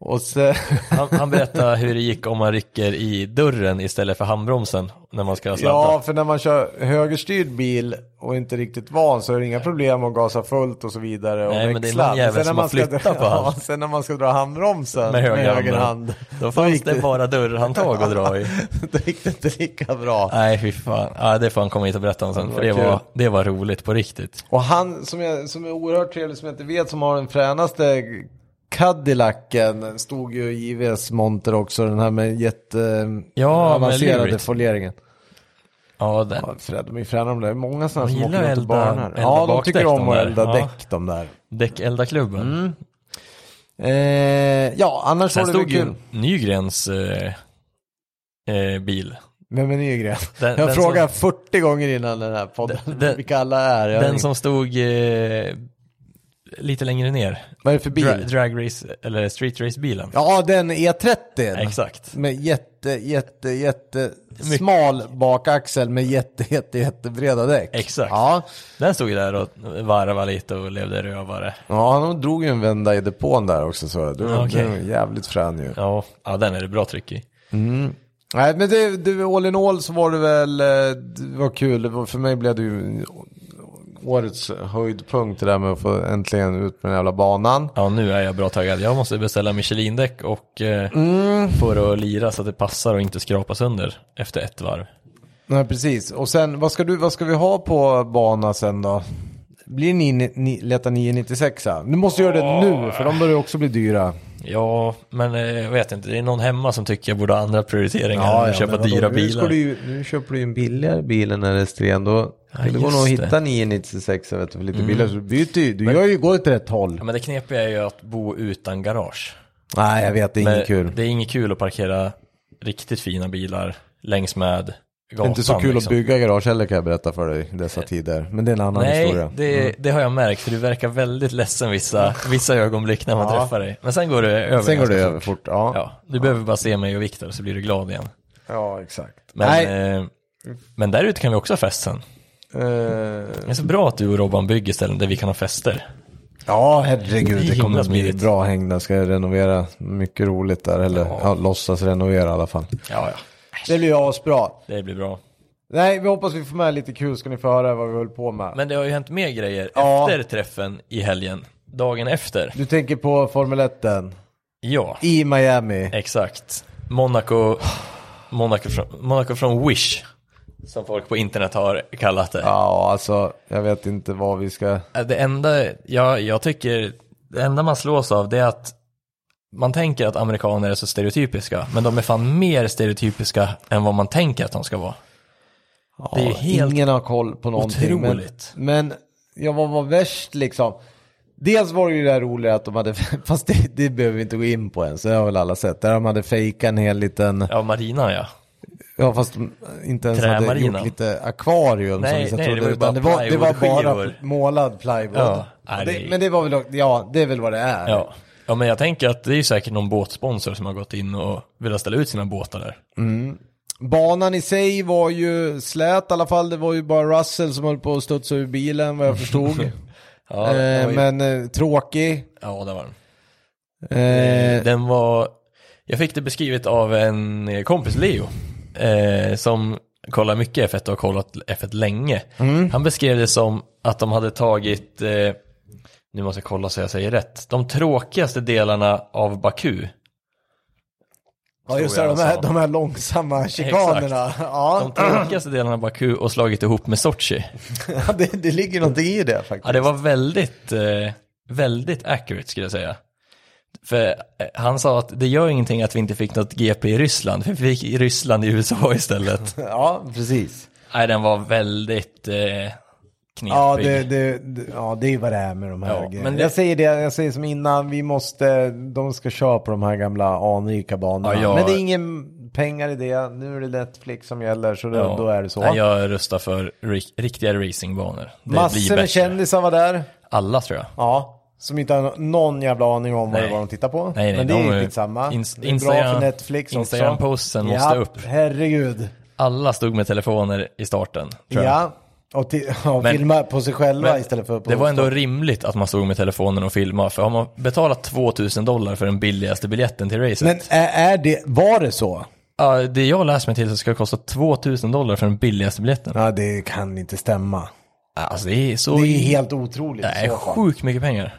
Speaker 7: Och sen...
Speaker 2: Han, han berättade hur det gick om man rycker i dörren istället för handbromsen när man ska sladda.
Speaker 7: Ja, för när man kör högerstyrd bil och inte riktigt van så är det inga problem att gasa fullt och så vidare och
Speaker 2: Nej, men det är
Speaker 7: växla.
Speaker 2: någon jävel
Speaker 7: sen när
Speaker 2: som
Speaker 7: man
Speaker 2: har
Speaker 7: ska
Speaker 2: flyttat
Speaker 7: dra-
Speaker 2: på han.
Speaker 7: ja, Sen när man ska dra handbromsen med höger, hand,
Speaker 2: Då fanns
Speaker 7: gick
Speaker 2: det bara dörrhandtag att dra i.
Speaker 7: då gick det inte lika bra.
Speaker 2: Nej, fy fan. Ja, det får han komma hit och berätta om sen. För det
Speaker 7: kul.
Speaker 2: var, det var roligt på riktigt.
Speaker 7: Och han som, jag, som är oerhört trevlig, som jag inte vet, som har den fränaste Cadillacen, stod ju i JVs monter också, den här med
Speaker 2: Ja, med
Speaker 7: jätteavancerade
Speaker 2: Lyric.
Speaker 7: folieringen.
Speaker 2: Ja, den.
Speaker 7: Ja, Fred, de är ju fräna de där. Många sådana
Speaker 2: De
Speaker 7: som
Speaker 2: gillar
Speaker 7: åker runt och
Speaker 2: elda-
Speaker 7: barnar.
Speaker 2: elda
Speaker 7: Ja, de
Speaker 2: bakdäck,
Speaker 7: tycker om
Speaker 2: de
Speaker 7: att
Speaker 2: där.
Speaker 7: elda
Speaker 2: Ja.
Speaker 7: däck de där.
Speaker 2: Däckeldarklubben.
Speaker 7: Mm, Eh, ja, annars
Speaker 2: Sen
Speaker 7: var det väl
Speaker 2: stod ju
Speaker 7: kul.
Speaker 2: Nygrens eh, eh, bil.
Speaker 7: Vem är Nygren?
Speaker 2: Den-
Speaker 7: jag
Speaker 2: den
Speaker 7: frågar 40 gånger innan den här podden
Speaker 2: Den-
Speaker 7: vilka alla är. Jag har
Speaker 2: Den
Speaker 7: ingen-
Speaker 2: som stod eh, lite längre ner.
Speaker 7: Vad är det för bil?
Speaker 2: Dra, drag race, eller street race bilen.
Speaker 7: ja, den E30.
Speaker 2: Exakt.
Speaker 7: Med jätte, jätte, jätte smal bakaxel med jätte, jätte, jättebreda däck.
Speaker 2: Exakt.
Speaker 7: Ja,
Speaker 2: Den stod ju där och varvade lite och levde rövare.
Speaker 7: ja han drog ju en vända i depån där också. Så. Du,
Speaker 2: Ja, okej.
Speaker 7: du är jävligt frän ju.
Speaker 2: Ja, ja den är det bra tryck i.
Speaker 7: Nej, men det, det, all in all så var det väl, eh, det var kul. Det var- För mig blev det ju årets höjdpunkt det där med att få äntligen ut med den jävla banan.
Speaker 2: Ja, nu är jag bra taggad. Jag måste beställa Michelin-däck och eh,
Speaker 7: Mm.
Speaker 2: för att lira så att det passar och inte skrapa sönder efter ett varv.
Speaker 7: Nej, precis. Och sen, vad ska, du, vad ska vi ha på bana sen då? Blir ni, ni Leta 996 Du måste göra det nu, för de börjar också bli dyra.
Speaker 2: Ja, men eh, jag vet inte. Det är någon hemma som tycker jag borde ha andra prioriteringar än att köpa
Speaker 7: men vadå,
Speaker 2: dyra
Speaker 7: nu
Speaker 2: bilar.
Speaker 7: ska Du, ju- nu köper du ju en billigare bil än RS3 då.
Speaker 2: Ja,
Speaker 7: det Mm. går
Speaker 2: just
Speaker 7: nog att
Speaker 2: det.
Speaker 7: hitta 996 vet du, för lite billigare. Så du byter ju, du gör ju, går åt rätt håll.
Speaker 2: Ja, men det knepiga är ju att bo utan garage.
Speaker 7: Nej, jag vet, det är
Speaker 2: Men
Speaker 7: inget kul.
Speaker 2: Det är inget kul att parkera riktigt fina bilar längs med
Speaker 7: Det
Speaker 2: gatan.
Speaker 7: är inte så kul
Speaker 2: liksom.
Speaker 7: att bygga garage heller kan jag berätta för dig i dessa tider. Men det är en annan
Speaker 2: Nej,
Speaker 7: historia. Mm.
Speaker 2: det, det har jag märkt, för du verkar väldigt ledsen vissa, vissa ögonblick när man träffar dig. Men sen går det över.
Speaker 7: Sen går
Speaker 2: ganska
Speaker 7: det
Speaker 2: fort.
Speaker 7: över fort. Ja, ja.
Speaker 2: Ja, du behöver bara se mig och Viktor så blir du glad igen.
Speaker 7: exakt.
Speaker 2: Men,
Speaker 7: Nej.
Speaker 2: eh, men där ute kan vi också ha fest sen.
Speaker 7: Eh,
Speaker 2: Det är så bra att du och Robban bygger ställen där vi kan ha fester.
Speaker 7: ja, herregud.
Speaker 2: Det är
Speaker 7: Det kommer
Speaker 2: himla
Speaker 7: att bli
Speaker 2: smidigt.
Speaker 7: bra häng. Där ska jag renovera. Mycket roligt där. Eller ja. låtsas renovera i alla fall.
Speaker 2: Ja, ja.
Speaker 7: Det blir asbra.
Speaker 2: Det blir bra.
Speaker 7: Nej, vi hoppas vi får med lite kul. Ska ni få höra vad vi höll på med.
Speaker 2: Men det har ju hänt mer grejer
Speaker 7: Ja.
Speaker 2: efter träffen i helgen. Dagen efter.
Speaker 7: Du tänker på Formel 1
Speaker 2: Ja,
Speaker 7: i Miami.
Speaker 2: exakt. Monaco, Monaco, från, Monaco från Wish. Som folk på internet har kallat det.
Speaker 7: Ja, alltså jag vet inte vad vi ska...
Speaker 2: Äh, Det enda jag, jag tycker, det enda man slås av det är att man tänker att amerikaner är så stereotypiska, men de är fan mer stereotypiska än vad man tänker att de ska vara. det är ju helt
Speaker 7: Ingen har koll på någonting.
Speaker 2: otroligt.
Speaker 7: Men, men jag var, var värst liksom. Dels var det ju det här roliga att de hade, fast det, det behöver vi inte gå in på än, så det har väl alla sett. Där de hade fejkat en hel liten,
Speaker 2: Ja, Marina ja.
Speaker 7: ja fast de inte ens hade
Speaker 2: Trämarina.
Speaker 7: gjort lite akvarium
Speaker 2: Nej,
Speaker 7: som vissa
Speaker 2: nej, det
Speaker 7: trodde.
Speaker 2: var ju
Speaker 7: utan
Speaker 2: bara
Speaker 7: det, var, det var bara
Speaker 2: plywoodskivor.
Speaker 7: målad plywood.
Speaker 2: Ja,
Speaker 7: Och
Speaker 2: nej.
Speaker 7: det, men det var väl, ja det är väl vad det är.
Speaker 2: ja. Ja, men jag tänker att det är ju säkert någon båtsponsor som har gått in och velat ställa ut sina båtar där.
Speaker 7: Banan i sig var ju slät i alla fall. Det var ju bara Russell som höll på att studsa ur bilen vad jag förstod.
Speaker 2: Ja, det var
Speaker 7: eh,
Speaker 2: ju-
Speaker 7: men eh, tråkig.
Speaker 2: ja det var den.
Speaker 7: Eh,
Speaker 2: Den var, jag fick det beskrivet av en eh, kompis, Leo, eh, som kollar mycket F1 och har kollat F1 länge. Han beskrev det som att de hade tagit, eh, nu måste jag kolla så jag säger rätt, de tråkigaste delarna av Baku.
Speaker 7: ja just det,
Speaker 2: tror jag alltså.
Speaker 7: de här,
Speaker 2: han sa.
Speaker 7: de här långsamma chikanerna. Ja,
Speaker 2: De tråkigaste delarna av Baku och slagit ihop med Sochi.
Speaker 7: det, det ligger någonting i det faktiskt.
Speaker 2: Ja, det var väldigt, eh, väldigt accurate skulle jag säga. För eh, han sa att det gör ingenting att vi inte fick något GP i Ryssland, för vi fick i Ryssland i USA istället.
Speaker 7: Ja, precis.
Speaker 2: Nej, den var väldigt eh, knepig.
Speaker 7: Ja det, det, det- ja, det är vad det är med de här
Speaker 2: Ja,
Speaker 7: grejerna.
Speaker 2: men det-
Speaker 7: Jag säger det, jag säger som innan, vi måste, de ska köra på de här gamla anrika banorna.
Speaker 2: Ja, jag-
Speaker 7: Men det är ingen pengar i det, nu är det Netflix som gäller så då,
Speaker 2: Ja.
Speaker 7: då är det så.
Speaker 2: Nej, jag röstar för ri- riktiga racingbanor. Det blir
Speaker 7: Massor
Speaker 2: bättre.
Speaker 7: med kändisar var där.
Speaker 2: Alla tror jag.
Speaker 7: Ja, som inte har någon jävla aning om vad det
Speaker 2: Nej.
Speaker 7: var de tittar på.
Speaker 2: Nej, nej,
Speaker 7: men det
Speaker 2: de
Speaker 7: är
Speaker 2: är-
Speaker 7: ju skitsamma.
Speaker 2: Ins-
Speaker 7: det är bra
Speaker 2: Instagram-
Speaker 7: för Netflix också.
Speaker 2: Instagram-posten måste
Speaker 7: ja,
Speaker 2: upp.
Speaker 7: herregud.
Speaker 2: Alla stod med telefoner i starten. Tror jag.
Speaker 7: Ja, och, ti- och
Speaker 2: Men-
Speaker 7: filma på sig själva
Speaker 2: men
Speaker 7: istället för på
Speaker 2: Det var ändå rimligt att man stod med telefonen och filmade, för har man betalat 2000 dollar för den billigaste biljetten till racet,
Speaker 7: Men är, är det, var det så?
Speaker 2: ja, det jag läst mig till så ska det kosta 2000 dollar för den billigaste biljetten.
Speaker 7: Ja, det kan inte stämma.
Speaker 2: Alltså det är så...
Speaker 7: Det är ju helt otroligt i
Speaker 2: Nej,
Speaker 7: så fall.
Speaker 2: sjukt mycket pengar.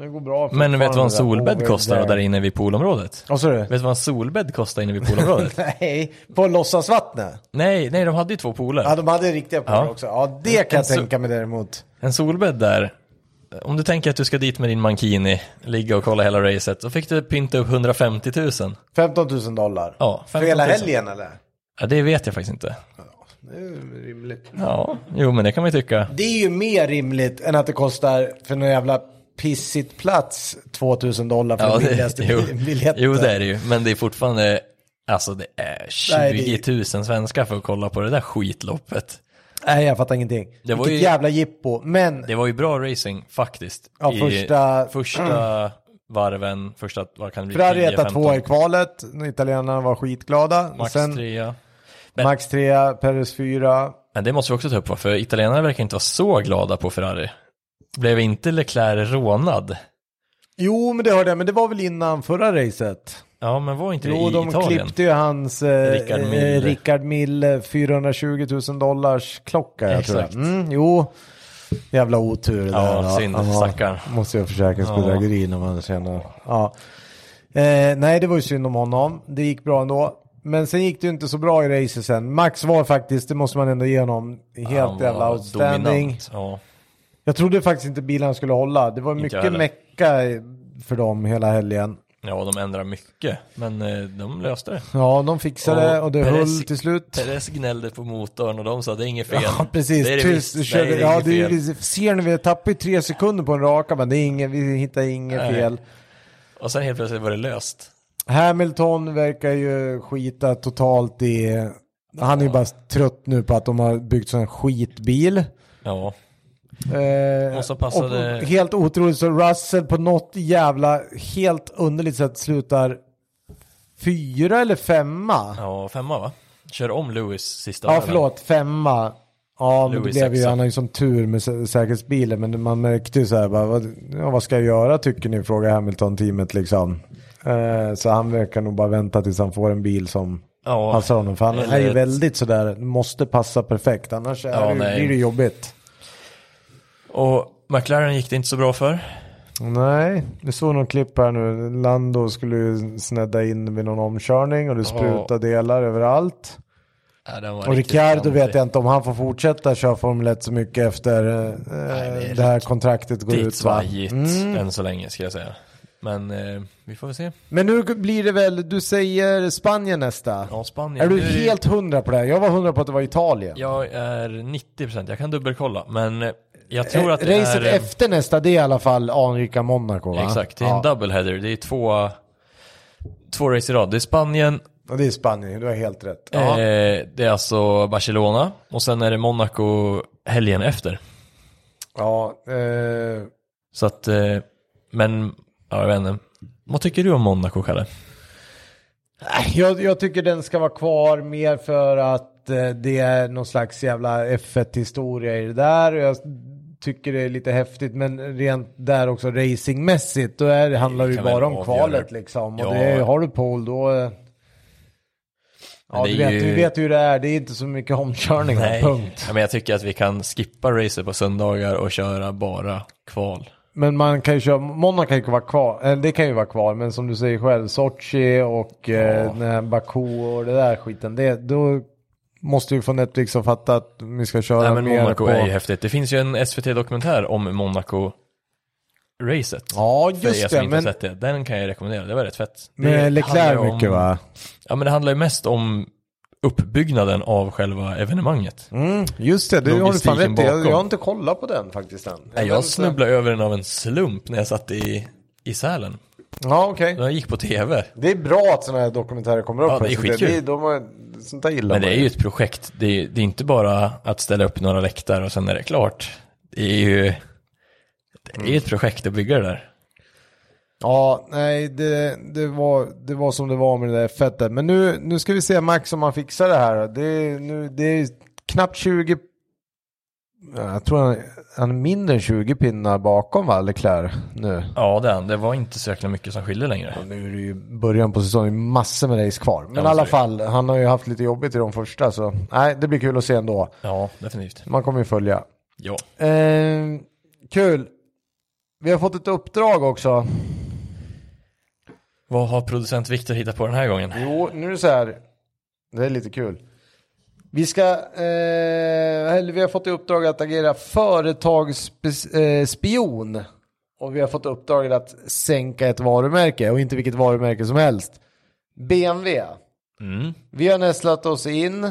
Speaker 7: Det går bra
Speaker 2: Men vet du vad en
Speaker 7: fortfarande där.
Speaker 2: solbädd
Speaker 7: Over
Speaker 2: kostar då,
Speaker 7: there.
Speaker 2: där inne vid poolområdet?
Speaker 7: Vad sa du?
Speaker 2: Vet du vad en solbädd kostar inne vid poolområdet?
Speaker 7: Nej, på låtsasvattnet.
Speaker 2: nej, nej, de hade ju två pooler.
Speaker 7: Ja, de hade riktiga på
Speaker 2: Ja.
Speaker 7: också. Ja, det kan jag
Speaker 2: En so-
Speaker 7: tänka mig däremot.
Speaker 2: En solbädd där, om du tänker att du ska dit med din mankini, ligga och kolla hela racet, då fick du pynta upp 150 000.
Speaker 7: 15 000 dollar.
Speaker 2: Ja, 15
Speaker 7: För
Speaker 2: 000.
Speaker 7: hela helgen eller?
Speaker 2: Ja, det vet jag faktiskt inte.
Speaker 7: Det är rimligt.
Speaker 2: Ja, jo men det kan man ju tycka.
Speaker 7: Det är ju mer rimligt än att det kostar för någon jävla pissigt plats 2000 dollar för
Speaker 2: Ja,
Speaker 7: den
Speaker 2: det,
Speaker 7: billigaste
Speaker 2: jo,
Speaker 7: biljetten.
Speaker 2: jo, det är det ju, men det är fortfarande, alltså det är
Speaker 7: Nej, det-
Speaker 2: 20 000 svenskar för att kolla på det där skitloppet.
Speaker 7: Nej, jag fattar ingenting.
Speaker 2: Det
Speaker 7: Det
Speaker 2: var
Speaker 7: Vilket
Speaker 2: ju-
Speaker 7: jävla jippo. Men
Speaker 2: Det var ju bra racing faktiskt.
Speaker 7: Ja, första-
Speaker 2: första varven, första, vad kan det bli,
Speaker 7: Ferrari
Speaker 2: 10,
Speaker 7: etta
Speaker 2: 15,
Speaker 7: två i kvalet. Italienarna var skitglada.
Speaker 2: max
Speaker 7: Sen
Speaker 2: trea.
Speaker 7: Max trea, Perez fyra.
Speaker 2: Men det måste vi också ta upp va? för italienarna verkar inte vara så glada på Ferrari. Blev inte Leclerc rånad?
Speaker 7: Jo, men det hörde jag. Men det var väl innan förra racet?
Speaker 2: Ja, men var inte det
Speaker 7: Jo,
Speaker 2: i
Speaker 7: de
Speaker 2: Italien?
Speaker 7: klippte ju hans eh,
Speaker 2: Rickard Mill.
Speaker 7: eh, Rickard Mill eh, 420 000 dollars klocka. Jag tror
Speaker 2: Exakt.
Speaker 7: jag. Mm, jo, Jävla otur det
Speaker 2: Ja,
Speaker 7: där.
Speaker 2: synd, stackarn.
Speaker 7: Måste ju ha försäkringsbedrägeri när man känner. Ja. Eh, nej, det var ju synd om honom. Det gick bra ändå. Men sen gick det ju inte så bra i racet sen. Max var faktiskt, det måste man ändå ge honom,
Speaker 2: Han
Speaker 7: helt
Speaker 2: var
Speaker 7: jävla outstanding.
Speaker 2: dominant, Ja.
Speaker 7: Jag trodde faktiskt inte bilen skulle hålla. Det var mycket
Speaker 2: heller.
Speaker 7: mecka för dem hela helgen.
Speaker 2: ja, de ändrar mycket, men eh, de löste det.
Speaker 7: Ja, de fixade och,
Speaker 2: Och
Speaker 7: det
Speaker 2: Perez-
Speaker 7: höll till slut.
Speaker 2: Perez gnällde på motorn och de sa det är inget fel.
Speaker 7: Ja, precis.
Speaker 2: Det är det
Speaker 7: Tyst,
Speaker 2: visst.
Speaker 7: körde,
Speaker 2: Nej, det är
Speaker 7: ja,
Speaker 2: inget
Speaker 7: det är,
Speaker 2: fel.
Speaker 7: ju- ser ni, vi tappar ju tre sekunder på en raka, men det är inget, vi hittar inget
Speaker 2: Nej.
Speaker 7: fel.
Speaker 2: Och sen helt plötsligt var det löst.
Speaker 7: Hamilton verkar ju skita totalt i... Han är ju bara trött nu på att de har byggt sån här skitbil.
Speaker 2: Ja,
Speaker 7: Eh,
Speaker 2: Och så passade-
Speaker 7: och- och helt otroligt så Russell på något jävla helt underligt sätt slutar fyra eller femma. Ja,
Speaker 2: ja femma va? Kör om Lewis sista varven.
Speaker 7: förlåt, femma. Ja, men det
Speaker 2: Lewis
Speaker 7: blev ju,
Speaker 2: sexa.
Speaker 7: han har ju som tur med sä- säkerhetsbilen, men man märkte ju så här, bara, vad, ja, vad ska jag göra tycker ni, frågar Hamilton-teamet liksom. Eh, så han verkar nog bara vänta tills han får en bil som
Speaker 2: Ja.
Speaker 7: passar honom, för han är ju
Speaker 2: Eller-
Speaker 7: väldigt sådär, måste passa perfekt, annars är
Speaker 2: Ja,
Speaker 7: det,
Speaker 2: nej.
Speaker 7: blir det jobbigt.
Speaker 2: Och McLaren gick det inte så bra för.
Speaker 7: Nej, vi såg någon klipp här nu. Lando skulle ju snedda in vid någon omkörning och det sprutade delar överallt.
Speaker 2: Ja, den var
Speaker 7: Och
Speaker 2: riktigt
Speaker 7: Ricciardo vet
Speaker 2: klantig.
Speaker 7: jag inte om han får fortsätta köra Formel 1 så mycket efter eh,
Speaker 2: är
Speaker 7: det, här kontraktet går
Speaker 2: Riktigt
Speaker 7: ut. Va?
Speaker 2: svajigt
Speaker 7: Mm.
Speaker 2: än så länge ska jag säga. Men eh, vi får väl se.
Speaker 7: Men nu blir det väl, du säger Spanien nästa?
Speaker 2: Ja, Spanien.
Speaker 7: är du
Speaker 2: Nu det-
Speaker 7: helt hundra på det här? Jag var hundra på att det var Italien.
Speaker 2: Jag är 90%, jag kan dubbelkolla. Men eh, jag tror att det
Speaker 7: Racet
Speaker 2: är...
Speaker 7: efter nästa, det är i alla fall Anrika Monaco va?
Speaker 2: Exakt, det är en
Speaker 7: ja.
Speaker 2: doubleheader. Det är två, två race i rad. Det är Spanien,
Speaker 7: Och det är Spanien, du har helt rätt. Ja.
Speaker 2: eh, det är alltså Barcelona och sen är det Monaco helgen efter.
Speaker 7: ja eh,
Speaker 2: Så att, eh, men, ja, jag vet inte. Vad tycker du om Monaco, Kalle?
Speaker 7: Jag, jag tycker den ska vara kvar mer för att eh, det är någon slags jävla F1-historia i det där. Och jag tycker det är lite häftigt, men rent där också racingmässigt, då är, handlar det ju
Speaker 2: kan väl
Speaker 7: bara om
Speaker 2: avgöra.
Speaker 7: kvalet liksom. Och
Speaker 2: Ja.
Speaker 7: det är, har du pole då... eh, Ja,
Speaker 2: Men det
Speaker 7: du
Speaker 2: är
Speaker 7: vet,
Speaker 2: ju-
Speaker 7: du vet ju hur det är. Det är inte så mycket omkörningar, punkt.
Speaker 2: Ja, men jag tycker att vi kan skippa racer på söndagar och köra bara kval.
Speaker 7: Men man kan ju köra, Monaco kan ju vara kvar, eller det kan ju vara kvar, men som du säger själv, Sochi och eh, den här Baku och det där skiten, det, då måste ju få Netflix att fatta att vi ska köra
Speaker 2: Nej, men
Speaker 7: mer
Speaker 2: Monaco
Speaker 7: på...
Speaker 2: är ju häftigt. Det finns ju en SVT-dokumentär om Monaco-racet.
Speaker 7: ja,
Speaker 2: För er
Speaker 7: just
Speaker 2: som
Speaker 7: det,
Speaker 2: inte har
Speaker 7: men
Speaker 2: sett det. Den kan jag rekommendera, det var rätt fett. Det
Speaker 7: med
Speaker 2: handlar ju
Speaker 7: Leclerc
Speaker 2: om-
Speaker 7: mycket va?
Speaker 2: Ja men det handlar ju mest om uppbyggnaden av själva evenemanget.
Speaker 7: Mm, just det, du har du
Speaker 2: Logistiken
Speaker 7: fan rätt i. jag,
Speaker 2: bakom.
Speaker 7: jag har inte kollat på den faktiskt än.
Speaker 2: Nej,
Speaker 7: Men-
Speaker 2: jag snubblade över den av en slump när jag satt i, i Sälen.
Speaker 7: Ja, okej.
Speaker 2: Den gick på tv.
Speaker 7: Det är bra att sådana här dokumentärer kommer upp.
Speaker 2: Ja, det är
Speaker 7: alltså.
Speaker 2: skitkul.
Speaker 7: det, de har, sånt där gillar
Speaker 2: Men det
Speaker 7: man
Speaker 2: är ju ett projekt. Det är, det är inte bara att ställa upp några läktare och sen är det klart. Det är ju det är
Speaker 7: Mm.
Speaker 2: ju ett projekt att bygga det där.
Speaker 7: Ja, nej, det, det, var, det var som det var med det där fettet. Men nu, nu ska vi se Max om han fixar det här. Det, är nu, det är knappt 20... Ja, Jag tror han, han är mindre än 20 pinnar bakom va, Leclerc nu.
Speaker 2: Ja, den, det var inte så jäkla mycket som skiljer längre.
Speaker 7: Och nu är det ju början på säsongen, massor med race kvar. Men
Speaker 2: Ja,
Speaker 7: i alla
Speaker 2: så är
Speaker 7: fall, han har ju haft lite jobbigt i de första så nej, det blir kul att se ändå.
Speaker 2: Ja, definitivt.
Speaker 7: Man kommer ju följa.
Speaker 2: Ja.
Speaker 7: Eh, kul. Vi har fått ett uppdrag också.
Speaker 2: Vad har producent Viktor hittat på den här gången?
Speaker 7: Jo, nu är det så här. Det är lite kul. Vi ska, eh, eller vi har fått i uppdrag att agera företagsspion. och vi har fått uppdraget att sänka ett varumärke och inte vilket varumärke som helst. BMW.
Speaker 2: Mm.
Speaker 7: Vi har nästlat oss in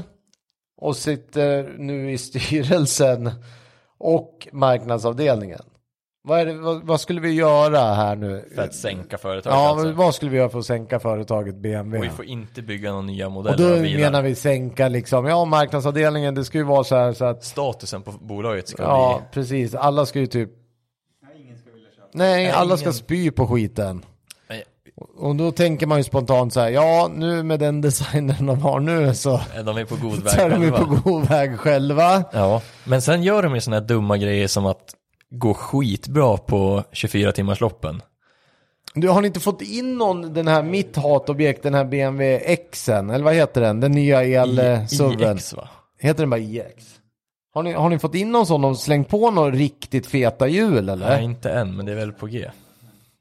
Speaker 7: och sitter nu i styrelsen och marknadsavdelningen. Vad, är det, vad, vad skulle vi göra här nu?
Speaker 2: För att sänka företaget
Speaker 7: Ja, men
Speaker 2: alltså.
Speaker 7: vad skulle vi göra för att sänka företaget BMW?
Speaker 2: Och vi får inte bygga några nya
Speaker 7: Och
Speaker 2: modeller
Speaker 7: då
Speaker 2: av bilar.
Speaker 7: menar vi sänka liksom, ja marknadsavdelningen det ska ju vara så här så att,
Speaker 2: Statusen på bolaget ska
Speaker 7: ja
Speaker 2: bli...
Speaker 7: precis, alla ska ju typ Nej, alla ska spy på skiten.
Speaker 2: Nej,
Speaker 7: Och då tänker man ju spontant så här, ja nu med den designen de har nu så
Speaker 2: Eh, De är på god väg
Speaker 7: så är de ju
Speaker 2: själva.
Speaker 7: på god väg själva.
Speaker 2: Ja, men sen gör de ju sådana här dumma grejer som att gå skitbra på 24-timmarsloppen.
Speaker 7: Du, har ni inte fått in någon, den här mitt hatobjekt, den här BMW Xen, eller vad heter den? Den nya el-suven.
Speaker 2: IX va?
Speaker 7: Heter den bara IX? Har ni, har ni fått in någon sån och slängt på några riktigt feta hjul eller?
Speaker 2: Nej, inte än, men det är väl på G.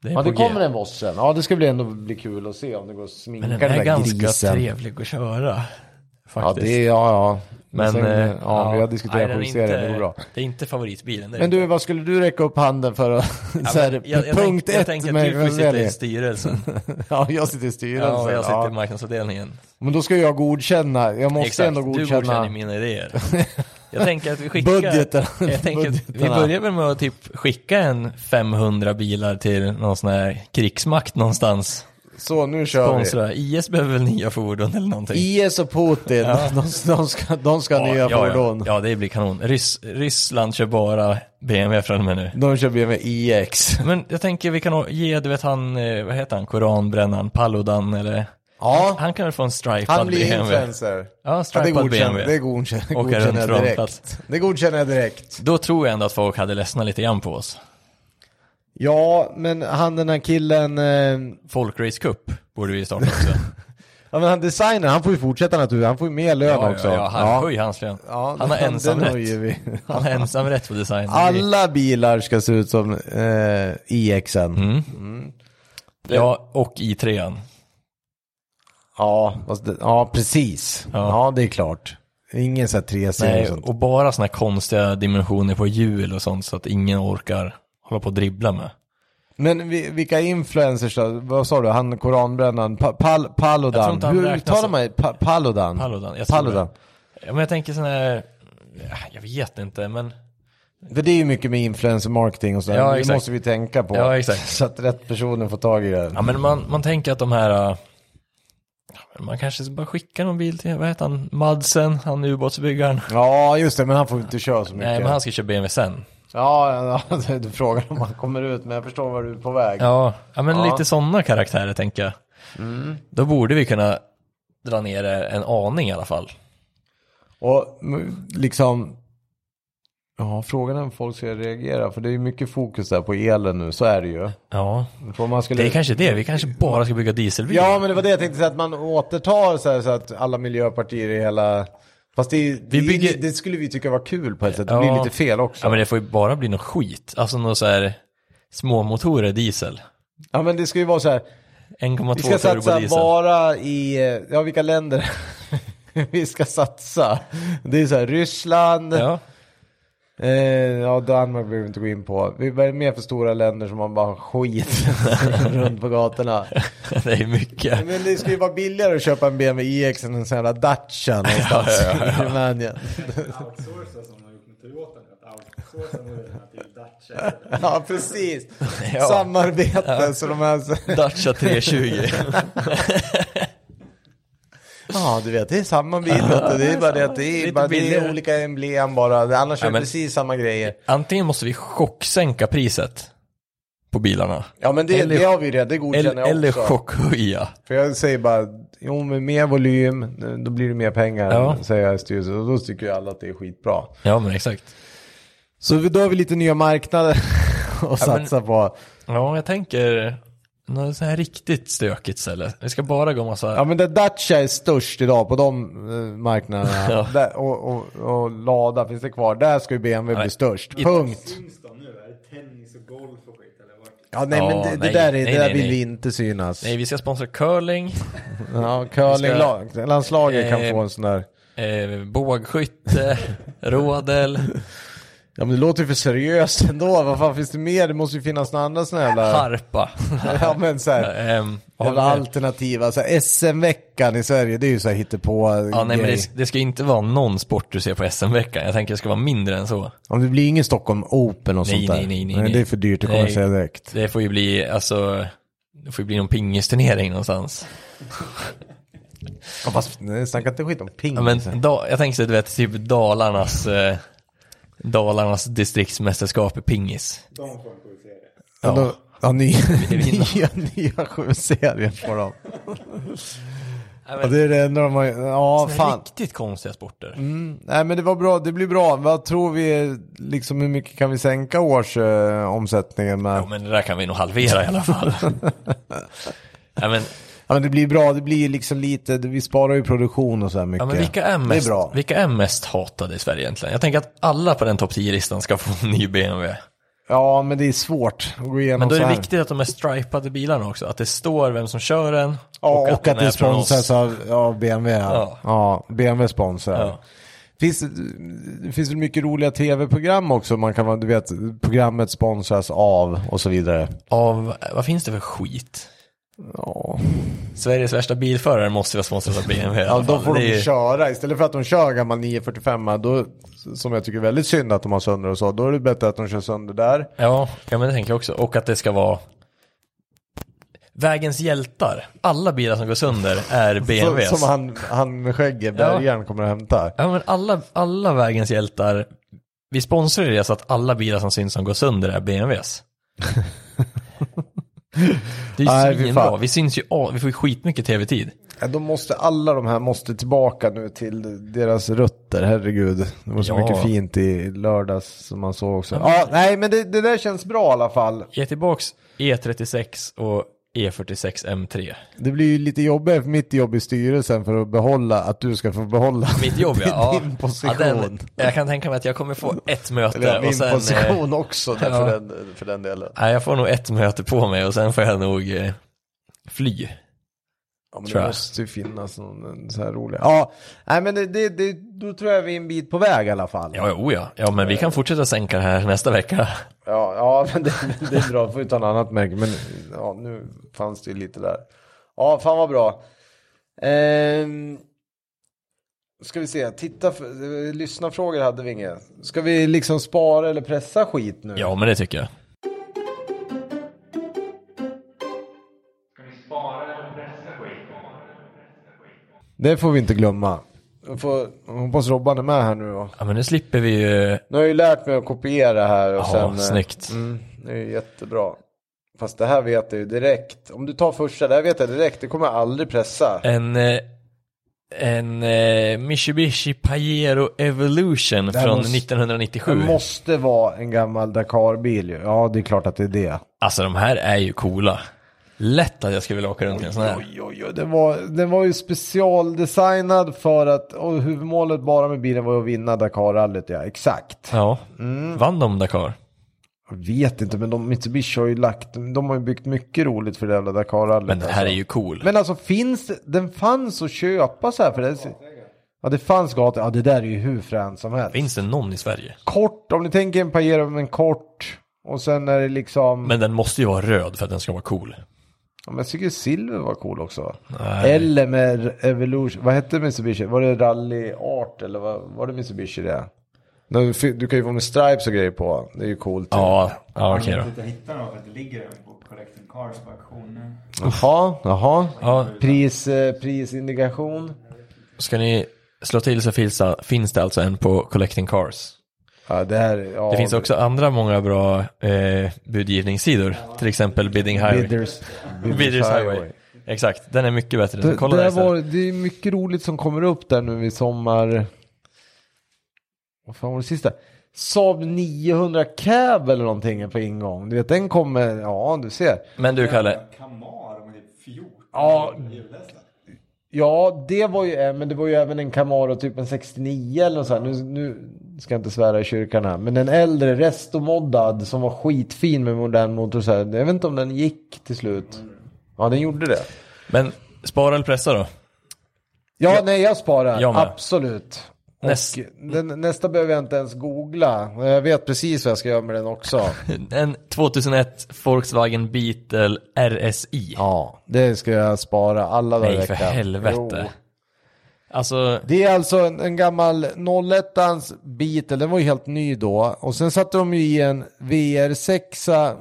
Speaker 2: Det är
Speaker 7: ja,
Speaker 2: på
Speaker 7: det kommer
Speaker 2: G.
Speaker 7: en voss sen. Ja, det ska bli ändå bli kul att se om det går att sminka
Speaker 2: Men den
Speaker 7: där
Speaker 2: är ganska
Speaker 7: grisen.
Speaker 2: trevlig att köra.
Speaker 7: Ja,
Speaker 2: Faktiskt.
Speaker 7: det är, ja, ja.
Speaker 2: Men,
Speaker 7: Men sen,
Speaker 2: eh,
Speaker 7: ja, vi har
Speaker 2: nej,
Speaker 7: diskuterat
Speaker 2: den
Speaker 7: på
Speaker 2: är
Speaker 7: serien,
Speaker 2: inte-
Speaker 7: det går bra.
Speaker 2: Det är inte favoritbilen. Det är
Speaker 7: Men
Speaker 2: inte.
Speaker 7: du, vad skulle du räcka upp handen för att, så här, punkt
Speaker 2: tänk, jag
Speaker 7: ett
Speaker 2: tänker att
Speaker 7: med
Speaker 2: du får
Speaker 7: vem
Speaker 2: sitta i
Speaker 7: väljer?
Speaker 2: styrelsen.
Speaker 7: Ja, jag sitter i styrelsen.
Speaker 2: ja, och jag sitter
Speaker 7: ja.
Speaker 2: i marknadsavdelningen.
Speaker 7: Men då ska jag godkänna, jag måste
Speaker 2: Exakt,
Speaker 7: ändå
Speaker 2: du
Speaker 7: godkänna.
Speaker 2: godkänner mina idéer. Jag tänker att vi skickar...
Speaker 7: Budgeten.
Speaker 2: Jag tänker att vi
Speaker 7: Budgeterna.
Speaker 2: börjar väl med att typ skicka en 500 bilar till någon sån här krigsmakt någonstans.
Speaker 7: Så, nu kör
Speaker 2: Sponsra. IS behöver väl nya fordon eller någonting.
Speaker 7: vi. IS och Putin, de, de ska, de ska ha nya fordon.
Speaker 2: Ja, ja, det blir kanon. Rys Ryssland kör bara BMW från och med nu.
Speaker 7: De kör med IX.
Speaker 2: Men jag tänker vi kan nog ge, du vet han, eh, vad heter han, koranbrännaren, Paludan eller?
Speaker 7: Ja,
Speaker 2: Han kan väl få en stripad
Speaker 7: han blir
Speaker 2: BMW.
Speaker 7: influencer.
Speaker 2: Ja,
Speaker 7: Ja, det
Speaker 2: stripad
Speaker 7: godkänner,
Speaker 2: BMW.
Speaker 7: det godkänner,
Speaker 2: Åka
Speaker 7: godkänner
Speaker 2: runt
Speaker 7: jag
Speaker 2: framplats.
Speaker 7: direkt. Det godkänner jag direkt.
Speaker 2: Då tror jag ändå att folk hade ledsnat lite grann på oss.
Speaker 7: Ja, men han den här killen, eh,
Speaker 2: Folkrace Cup borde vi starta också.
Speaker 7: ja, men han designen, han får ju fortsätta naturligtvis, han får ju mer lön
Speaker 2: ja,
Speaker 7: också.
Speaker 2: ja, ja, han,
Speaker 7: Ja.
Speaker 2: Höj hans lön.
Speaker 7: Ja,
Speaker 2: han har
Speaker 7: den- den
Speaker 2: ensamrätt.
Speaker 7: höjer vi.
Speaker 2: Han har ensamrätt på design.
Speaker 7: Alla bilar ska se ut som eh, IXen.
Speaker 2: Mm. Ja, och i trean.
Speaker 7: Ja, fast det, ja, precis.
Speaker 2: Ja.
Speaker 7: Ja. det är klart. Ingen sån här 3 serie och
Speaker 2: Nej,
Speaker 7: sånt.
Speaker 2: Eh, och bara såna här konstiga dimensioner på hjul och sånt så att ingen orkar hålla på och dribbla med.
Speaker 7: Men vi, vilka influencers då? Vad sa du? Han koranbrännaren? Pa, pal,
Speaker 2: Jag tror
Speaker 7: Paludan?
Speaker 2: inte han
Speaker 7: Hur
Speaker 2: räknas
Speaker 7: uttalar
Speaker 2: som-
Speaker 7: man det? pa, Paludan?
Speaker 2: Paludan, jag tror
Speaker 7: Paludan.
Speaker 2: Ja, men jag tänker sån här, ja, jag vet inte, men
Speaker 7: För det är ju mycket med influencer marketing och sådär.
Speaker 2: Ja,
Speaker 7: det
Speaker 2: exakt.
Speaker 7: måste vi tänka på.
Speaker 2: Ja, exakt.
Speaker 7: Så att rätt personer får tag i det.
Speaker 2: Ja men man, man tänker att de här, äh, ja, men man kanske bara skickar någon bil till, vad heter han, Madsen, han ubåtsbyggaren.
Speaker 7: Ja, just det. Men han får inte köra så mycket.
Speaker 2: Nej men han ska köra BMW sen.
Speaker 7: Ja, ja, ja, du- du frågar om han kommer ut. Men jag förstår var du är på väg.
Speaker 2: Ja, ja men
Speaker 7: Ja. Mm.
Speaker 2: lite sådana karaktärer tänker jag. Då borde vi kunna dra ner det en aning i alla fall.
Speaker 7: Och m- liksom... Ja, frågan är om folk ska reagera. För det är ju mycket fokus där på elen nu. Så är det ju.
Speaker 2: Ja,
Speaker 7: För om man skulle...
Speaker 2: det är kanske det, vi kanske bara ska bygga dieselbilar.
Speaker 7: Ja, men det var det jag tänkte säga, att man återtar så, här, så att alla miljöpartier i hela... Fast det, det,
Speaker 2: bygger-
Speaker 7: det skulle vi tycka var kul på ett sätt. Det blir
Speaker 2: Ja.
Speaker 7: lite fel också.
Speaker 2: Ja men det får ju bara bli något skit, alltså något så här småmotorer diesel.
Speaker 7: Ja, men det ska ju vara så här. Vi
Speaker 2: 1,2
Speaker 7: ska satsa
Speaker 2: turbodiesel.
Speaker 7: bara i, eh, ja vilka länder vi ska satsa. Det är så här Ryssland, ja.
Speaker 2: Ja.
Speaker 7: Eh, ja Danmark behöver vi inte gå in på. Vi vad är det mer för stora länder som man bara har skit runt på gatorna.
Speaker 2: det är mycket.
Speaker 7: Men det skulle ju vara billigare att köpa en BMW iX än en sån jävla Dacia någonstans i Rumänien.
Speaker 5: Outsourca som de har gjort med Toyota nu. Att outsourca modellerna till Dacia.
Speaker 7: Ja, precis.
Speaker 2: Ja.
Speaker 7: Samarbete. Så de här...
Speaker 2: Dacia 320.
Speaker 7: Ja, du vet, det är samma bil. vet du. Det är bara det att det
Speaker 2: Lite
Speaker 7: är, bara, det
Speaker 2: billigare.
Speaker 7: är olika emblem bara. Annars
Speaker 2: Ja,
Speaker 7: är
Speaker 2: men-
Speaker 7: det precis samma grejer.
Speaker 2: Antingen måste vi chocksänka priset på bilarna.
Speaker 7: Ja, men det,
Speaker 2: Eller-
Speaker 7: det har vi redan. Det
Speaker 2: Eller,
Speaker 7: godkänner
Speaker 2: eller
Speaker 7: jag också.
Speaker 2: chockhöja.
Speaker 7: För jag säger bara, jo, med mer volym, då blir det mer pengar,
Speaker 2: Ja.
Speaker 7: säger jag i styrelsen. Och då tycker ju alla att det är skitbra.
Speaker 2: Ja men exakt.
Speaker 7: Så vi- då har vi lite nya marknader att
Speaker 2: Ja, men-
Speaker 7: satsa på.
Speaker 2: Ja jag tänker något så här riktigt stökigt ställe. Vi ska bara gå massa...
Speaker 7: Ja men där Dacia är störst idag på de eh, marknaderna.
Speaker 2: Ja.
Speaker 7: där, och, och, och Lada finns det kvar. Där ska ju BMW
Speaker 2: Nej.
Speaker 7: bli störst. Punkt.
Speaker 5: Syns de nu? Är det tennis och golf och skit eller vart?
Speaker 7: Ja nej men
Speaker 2: Ja, nej.
Speaker 7: det, det där, är,
Speaker 2: Nej,
Speaker 7: det där
Speaker 2: nej,
Speaker 7: vill
Speaker 2: nej.
Speaker 7: vi inte synas.
Speaker 2: Nej vi ska sponsra curling,
Speaker 7: Ja, curlinglandslaget
Speaker 2: Eh,
Speaker 7: kan få en sån där.
Speaker 2: eh, bågskytte, rådel,
Speaker 7: Ja men det låter ju för seriöst ändå. Vad fan finns det mer? Det måste ju finnas några andra såna jävla...
Speaker 2: harpa.
Speaker 7: ja men så här.
Speaker 2: Ehm, vad har vi
Speaker 7: Jävla
Speaker 2: mer?
Speaker 7: alternativa, så här, SM-veckan i Sverige, det är ju så här hittepå
Speaker 2: Ja, nej, men
Speaker 7: grej.
Speaker 2: det, det ska inte vara någon sport du ser på SM-veckan. Jag tänker det ska vara mindre än så.
Speaker 7: Ja, men det blir ingen Stockholm Open och
Speaker 2: Nej,
Speaker 7: sånt där.
Speaker 2: nej, nej, nej,
Speaker 7: Men
Speaker 2: nej.
Speaker 7: Det är för dyrt, det kommer jag
Speaker 2: Nej.
Speaker 7: säga direkt.
Speaker 2: Det får ju bli, alltså, det får ju bli någon pingisturnering någonstans.
Speaker 7: Ja, fast nej, snacka inte skit om liksom. pingis.
Speaker 2: Ja, men da, jag tänker så du vet, typ Dalarnas, eh, Dalarnas distriktsmästerskap i pingis.
Speaker 5: De får en sjuk serie.
Speaker 7: Ja, då, ja ny,
Speaker 2: vinner.
Speaker 7: nya, nya sju serier på dem. Ja, det är det enda de har, ja
Speaker 2: Såna här
Speaker 7: fan.
Speaker 2: Riktigt konstiga sporter.
Speaker 7: Nej men det var bra, det blir bra. Vad tror vi, liksom hur mycket kan vi sänka årsomsättningen med?
Speaker 2: Ja, men det där kan vi nog halvera i alla fall. ja, men,
Speaker 7: Ja, men det blir bra, det blir liksom lite, vi sparar ju produktion och så här mycket.
Speaker 2: Ja, men vilka är, mest,
Speaker 7: Det är bra.
Speaker 2: vilka är mest hatade i Sverige egentligen? Jag tänker att alla på den topp 10-listan ska få en ny BMW.
Speaker 7: Ja, men det är svårt att gå igenom
Speaker 2: Men då är
Speaker 7: så
Speaker 2: det
Speaker 7: här.
Speaker 2: viktigt att de är stripade bilarna också. Att det står vem som kör den.
Speaker 7: Ja, och, att
Speaker 2: den
Speaker 7: det
Speaker 2: är från oss.
Speaker 7: sponsras av, av BMW. Ja.
Speaker 2: Ja.
Speaker 7: ja, BMW sponsrar.
Speaker 2: Ja.
Speaker 7: Finns, det finns väl mycket roliga tv-program också. Man kan vara, du vet, programmet sponsras av och så vidare.
Speaker 2: Av, vad finns det för skit?
Speaker 7: Ja,
Speaker 2: Sveriges värsta bilförare måste vara sponsrad av BMW i alla
Speaker 7: då
Speaker 2: fall.
Speaker 7: får
Speaker 2: Det är
Speaker 7: de
Speaker 2: ju-
Speaker 7: köra. Istället för att de kör gammal 945, då, som jag tycker är väldigt synd att de har sönder och så, då är det bättre att de kör sönder där.
Speaker 2: Ja, ja, men det tänker jag också. Och att det ska vara Vägens hjältar. Alla bilar som går sönder är
Speaker 7: Som,
Speaker 2: BMWs.
Speaker 7: som han, han med skägget, bärgaren, kommer att hämta.
Speaker 2: Ja, men alla, alla Vägens hjältar. Vi sponsrar det så att alla bilar som syns som går sönder är BMWs. Det är
Speaker 7: Nej,
Speaker 2: ju
Speaker 7: fy
Speaker 2: svinbra.
Speaker 7: fan.
Speaker 2: Vi syns ju, av- vi får ju skitmycket tv-tid.
Speaker 7: Ja, De måste, alla de här måste tillbaka nu till deras rötter, herregud. Det var så
Speaker 2: Ja.
Speaker 7: mycket fint i lördags som man såg också. Ja, nej men det, det där känns bra i alla fall.
Speaker 2: Ge tillbaks E36 och E E46 M3.
Speaker 7: Det blir ju lite jobbigare för mitt jobb i styrelsen för att behålla, att du ska få behålla
Speaker 2: Mitt jobb ja. ja.
Speaker 7: din position.
Speaker 2: Ja, den, jag kan tänka mig att jag kommer få ett möte
Speaker 7: Eller min
Speaker 2: och sen... eh,
Speaker 7: position också där för,
Speaker 2: ja.
Speaker 7: den, för den delen.
Speaker 2: Nej, jag får nog ett möte på mig och sen får jag nog eh, fly.
Speaker 7: Ja, men
Speaker 2: Tror
Speaker 7: det
Speaker 2: jag.
Speaker 7: måste ju finnas någon en så här rolig. Ja, nej men det, det, det, då tror jag vi är en bit på väg i alla fall.
Speaker 2: Ja, jo, ja. Ja, men vi kan fortsätta sänka det här nästa vecka.
Speaker 7: Ja, ja men det, det är bra. Får ju ta något annat märke. Men ja, nu fanns det ju lite där. Ja, fan vad bra. Ehm, ska vi se. Titta, för- eh, lyssna frågor hade vi inget. Ska vi liksom spara eller pressa skit nu?
Speaker 2: Ja, men det tycker jag.
Speaker 7: Det får vi inte glömma. Jag får, jag hoppas Robban är med här nu då.
Speaker 2: Ja, men nu slipper vi ju...
Speaker 7: Nu har jag ju lärt mig att kopiera här och
Speaker 2: Ja,
Speaker 7: sen. eh,
Speaker 2: snyggt.
Speaker 7: Mm, det är ju jättebra. Fast det här vet jag ju direkt. Om du tar första, det här vet jag direkt. Det kommer jag aldrig pressa.
Speaker 2: En, eh, en eh, Mitsubishi Pajero Evolution
Speaker 7: här
Speaker 2: från
Speaker 7: måste-
Speaker 2: 1997.
Speaker 7: Det måste vara en gammal Dakar-bil ju. Ja, det är klart att det är det.
Speaker 2: Alltså, de här är ju coola. Lätt att jag skulle vilja åka runt i en sån här.
Speaker 7: Oj, oj, oj. Den var, den var ju specialdesignad för att och huvudmålet bara med bilen var ju att vinna Dakar-rallyt. Ja, exakt.
Speaker 2: Ja.
Speaker 7: Mm.
Speaker 2: Vann de Dakar?
Speaker 7: Jag vet inte, men de, Mitsubishi har ju lagt, de har ju byggt mycket roligt för det jävla Dakar-rallyt.
Speaker 2: Men den här är ju cool.
Speaker 7: Men alltså finns det- den fanns att köpa så här för det? Ja, det fanns gator. Ja, det där är ju hur fränt som helst.
Speaker 2: Finns det någon i Sverige?
Speaker 7: Kort, om ni tänker en Pajero, men kort. Och sen är det liksom...
Speaker 2: Men den måste ju vara röd för att den ska vara cool.
Speaker 7: Ja, men jag tycker silver var cool också. Eller med Evolution. Vad hette Mitsubishi? Var det Rally Art eller vad var det Mitsubishi det? Du, du kan ju få med stripes och grejer på. Det är ju coolt.
Speaker 2: Ja, ja okej
Speaker 5: Jag
Speaker 2: då.
Speaker 5: vet inte hitta någon för att det ligger en på Collecting Cars på auktionen.
Speaker 7: Jaha, jaha.
Speaker 2: Ja,
Speaker 7: Pris, eh, prisindikation.
Speaker 2: Ska ni slå till så finns det, finns det alltså en på Collecting Cars.
Speaker 7: Ja, det här, ja,
Speaker 2: Det finns också andra många bra eh, budgivningssidor. Till exempel Bidding Highway.
Speaker 7: Bidders,
Speaker 2: Bidders Highway. Exakt, den är mycket bättre.
Speaker 7: Det,
Speaker 2: Så Kolla
Speaker 7: det, där
Speaker 2: där
Speaker 7: var,
Speaker 2: var...
Speaker 7: det är mycket roligt som kommer upp där nu i sommar. Vad fan var det sista? Saab 900 Cab eller någonting är på ingång. Du vet den kommer, ja du ser.
Speaker 2: Men du Kalle,
Speaker 5: Kamar med typ 14
Speaker 7: Ja.
Speaker 5: hjulhästar.
Speaker 7: Ja, det var ju en, men det var ju även en Camaro typ en 69 eller något sånt. Nu, nu ska jag inte svära i kyrkan här. Men en äldre restomoddad som var skitfin med modern motor. Så här. Jag vet inte om den gick till slut. Ja, den gjorde det.
Speaker 2: men spara eller pressa då?
Speaker 7: Ja, nej, jag sparar.
Speaker 2: Jag med.
Speaker 7: Absolut.
Speaker 2: Näst-
Speaker 7: Och den, nästa behöver jag inte ens googla. Och Jag vet precis vad jag ska göra med den också.
Speaker 2: En 2001 Volkswagen Beetle RSI.
Speaker 7: Ja, det ska jag spara alla dagar i
Speaker 2: Nej för
Speaker 7: veckan. Jo.
Speaker 2: helvete. Alltså,
Speaker 7: Det är alltså en, en gammal 01ans Beetle, den var ju helt ny då. Och sen satte de ju i en VR6.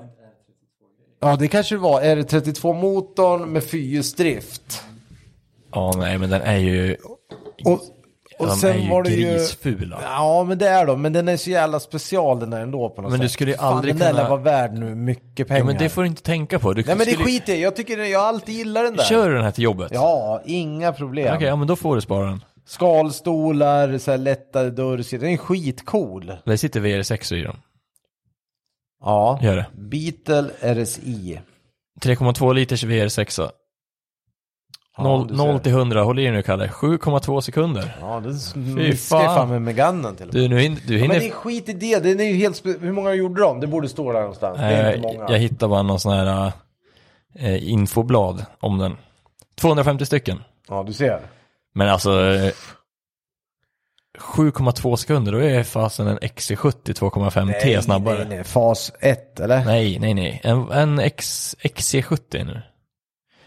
Speaker 7: Ja, det kanske det var R32-motorn med fyrhjulsdrift.
Speaker 2: ja nej men den är ju,
Speaker 7: Och, och
Speaker 2: de är
Speaker 7: sen
Speaker 2: ju
Speaker 7: var det ju...
Speaker 2: grisfula.
Speaker 7: Ja, men det är de. Men den är så jävla special den där ändå på något
Speaker 2: Men
Speaker 7: sätt.
Speaker 2: du skulle ju
Speaker 7: Fan,
Speaker 2: aldrig
Speaker 7: den där
Speaker 2: kunna-
Speaker 7: lär vara värd nu mycket pengar.
Speaker 2: Ja, men det får du inte tänka på. Du
Speaker 7: Nej, men det
Speaker 2: skulle-
Speaker 7: skiter jag i. Jag tycker det- jag alltid gillar den där.
Speaker 2: Kör du den här till jobbet?
Speaker 7: Ja, inga problem.
Speaker 2: Okej, ja men då får du spara den.
Speaker 7: Skalstolar, så här lättade dörrsidor. Den är skitcool.
Speaker 2: Det sitter VR6 i den.
Speaker 7: Ja.
Speaker 2: Gör det.
Speaker 7: Beetle RSI.
Speaker 2: 3,2 liters VR6. Noll-
Speaker 7: du ser.
Speaker 2: 0 till 100, håll i dig nu Kalle. 7,2 sekunder.
Speaker 7: Ja, det
Speaker 2: Fy
Speaker 7: smiskar
Speaker 2: fan.
Speaker 7: ju fan med Megannen till och med.
Speaker 2: Du, nu hin- du
Speaker 7: Men
Speaker 2: hinner...
Speaker 7: det är skit i det. Den är ju helt spe- Hur många gjorde de? Det borde stå där någonstans. det är
Speaker 2: Eh,
Speaker 7: inte många.
Speaker 2: jag hittade bara någon sån här eh, infoblad om den. 250 stycken.
Speaker 7: Ja, du ser.
Speaker 2: Men alltså... eh, 7,2 sekunder, då är fasen en XC70 2,5T snabbare.
Speaker 7: Nej, nej, fas 1 eller?
Speaker 2: Nej, nej, nej. En, en X, XC70 nu.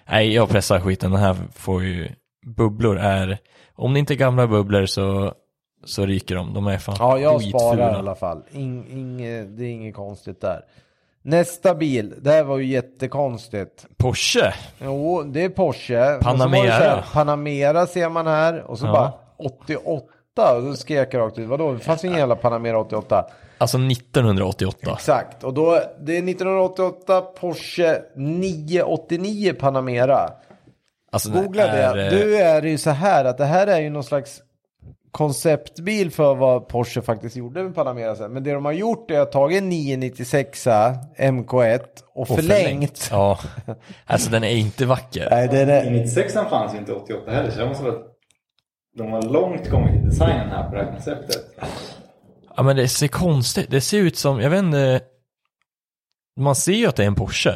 Speaker 2: Nej, jag pressar skiten. Den här får ju... Bubblor är... Om det inte är gamla bubblor så, så ryker de. De är fan
Speaker 7: Ja, jag
Speaker 2: skitfula.
Speaker 7: sparar i alla fall. Ing, inge- det är inget konstigt där. Nästa bil, det här var ju jättekonstigt.
Speaker 2: Porsche!
Speaker 7: Jo, det är Porsche. Men så var det
Speaker 2: Panamera.
Speaker 7: så här, Panamera ser man här och så
Speaker 2: Ja.
Speaker 7: bara 88. Och då skrek jag rakt ut, vadå, det fanns ingen jävla Panamera 88.
Speaker 2: Alltså 1988.
Speaker 7: Exakt, och då, det är 1988 Porsche 989 Panamera.
Speaker 2: Alltså, den
Speaker 7: Googla
Speaker 2: är,
Speaker 7: det.
Speaker 2: eh,
Speaker 7: Du är ju så här att det här är ju någon slags konceptbil för vad Porsche faktiskt gjorde med Panamera sen. Men det de har gjort är att tagit 996 MK1 och,
Speaker 2: och
Speaker 7: förlängt.
Speaker 2: Ja. Alltså den är inte vacker.
Speaker 7: Nej, det är det.
Speaker 5: 96 fanns ju inte 88 heller, så det måste vara... De har långt kommit i designen här på det här konceptet.
Speaker 2: Ja men det ser konstigt. Det ser ut som, jag vet inte. Man ser ju att det är en Porsche.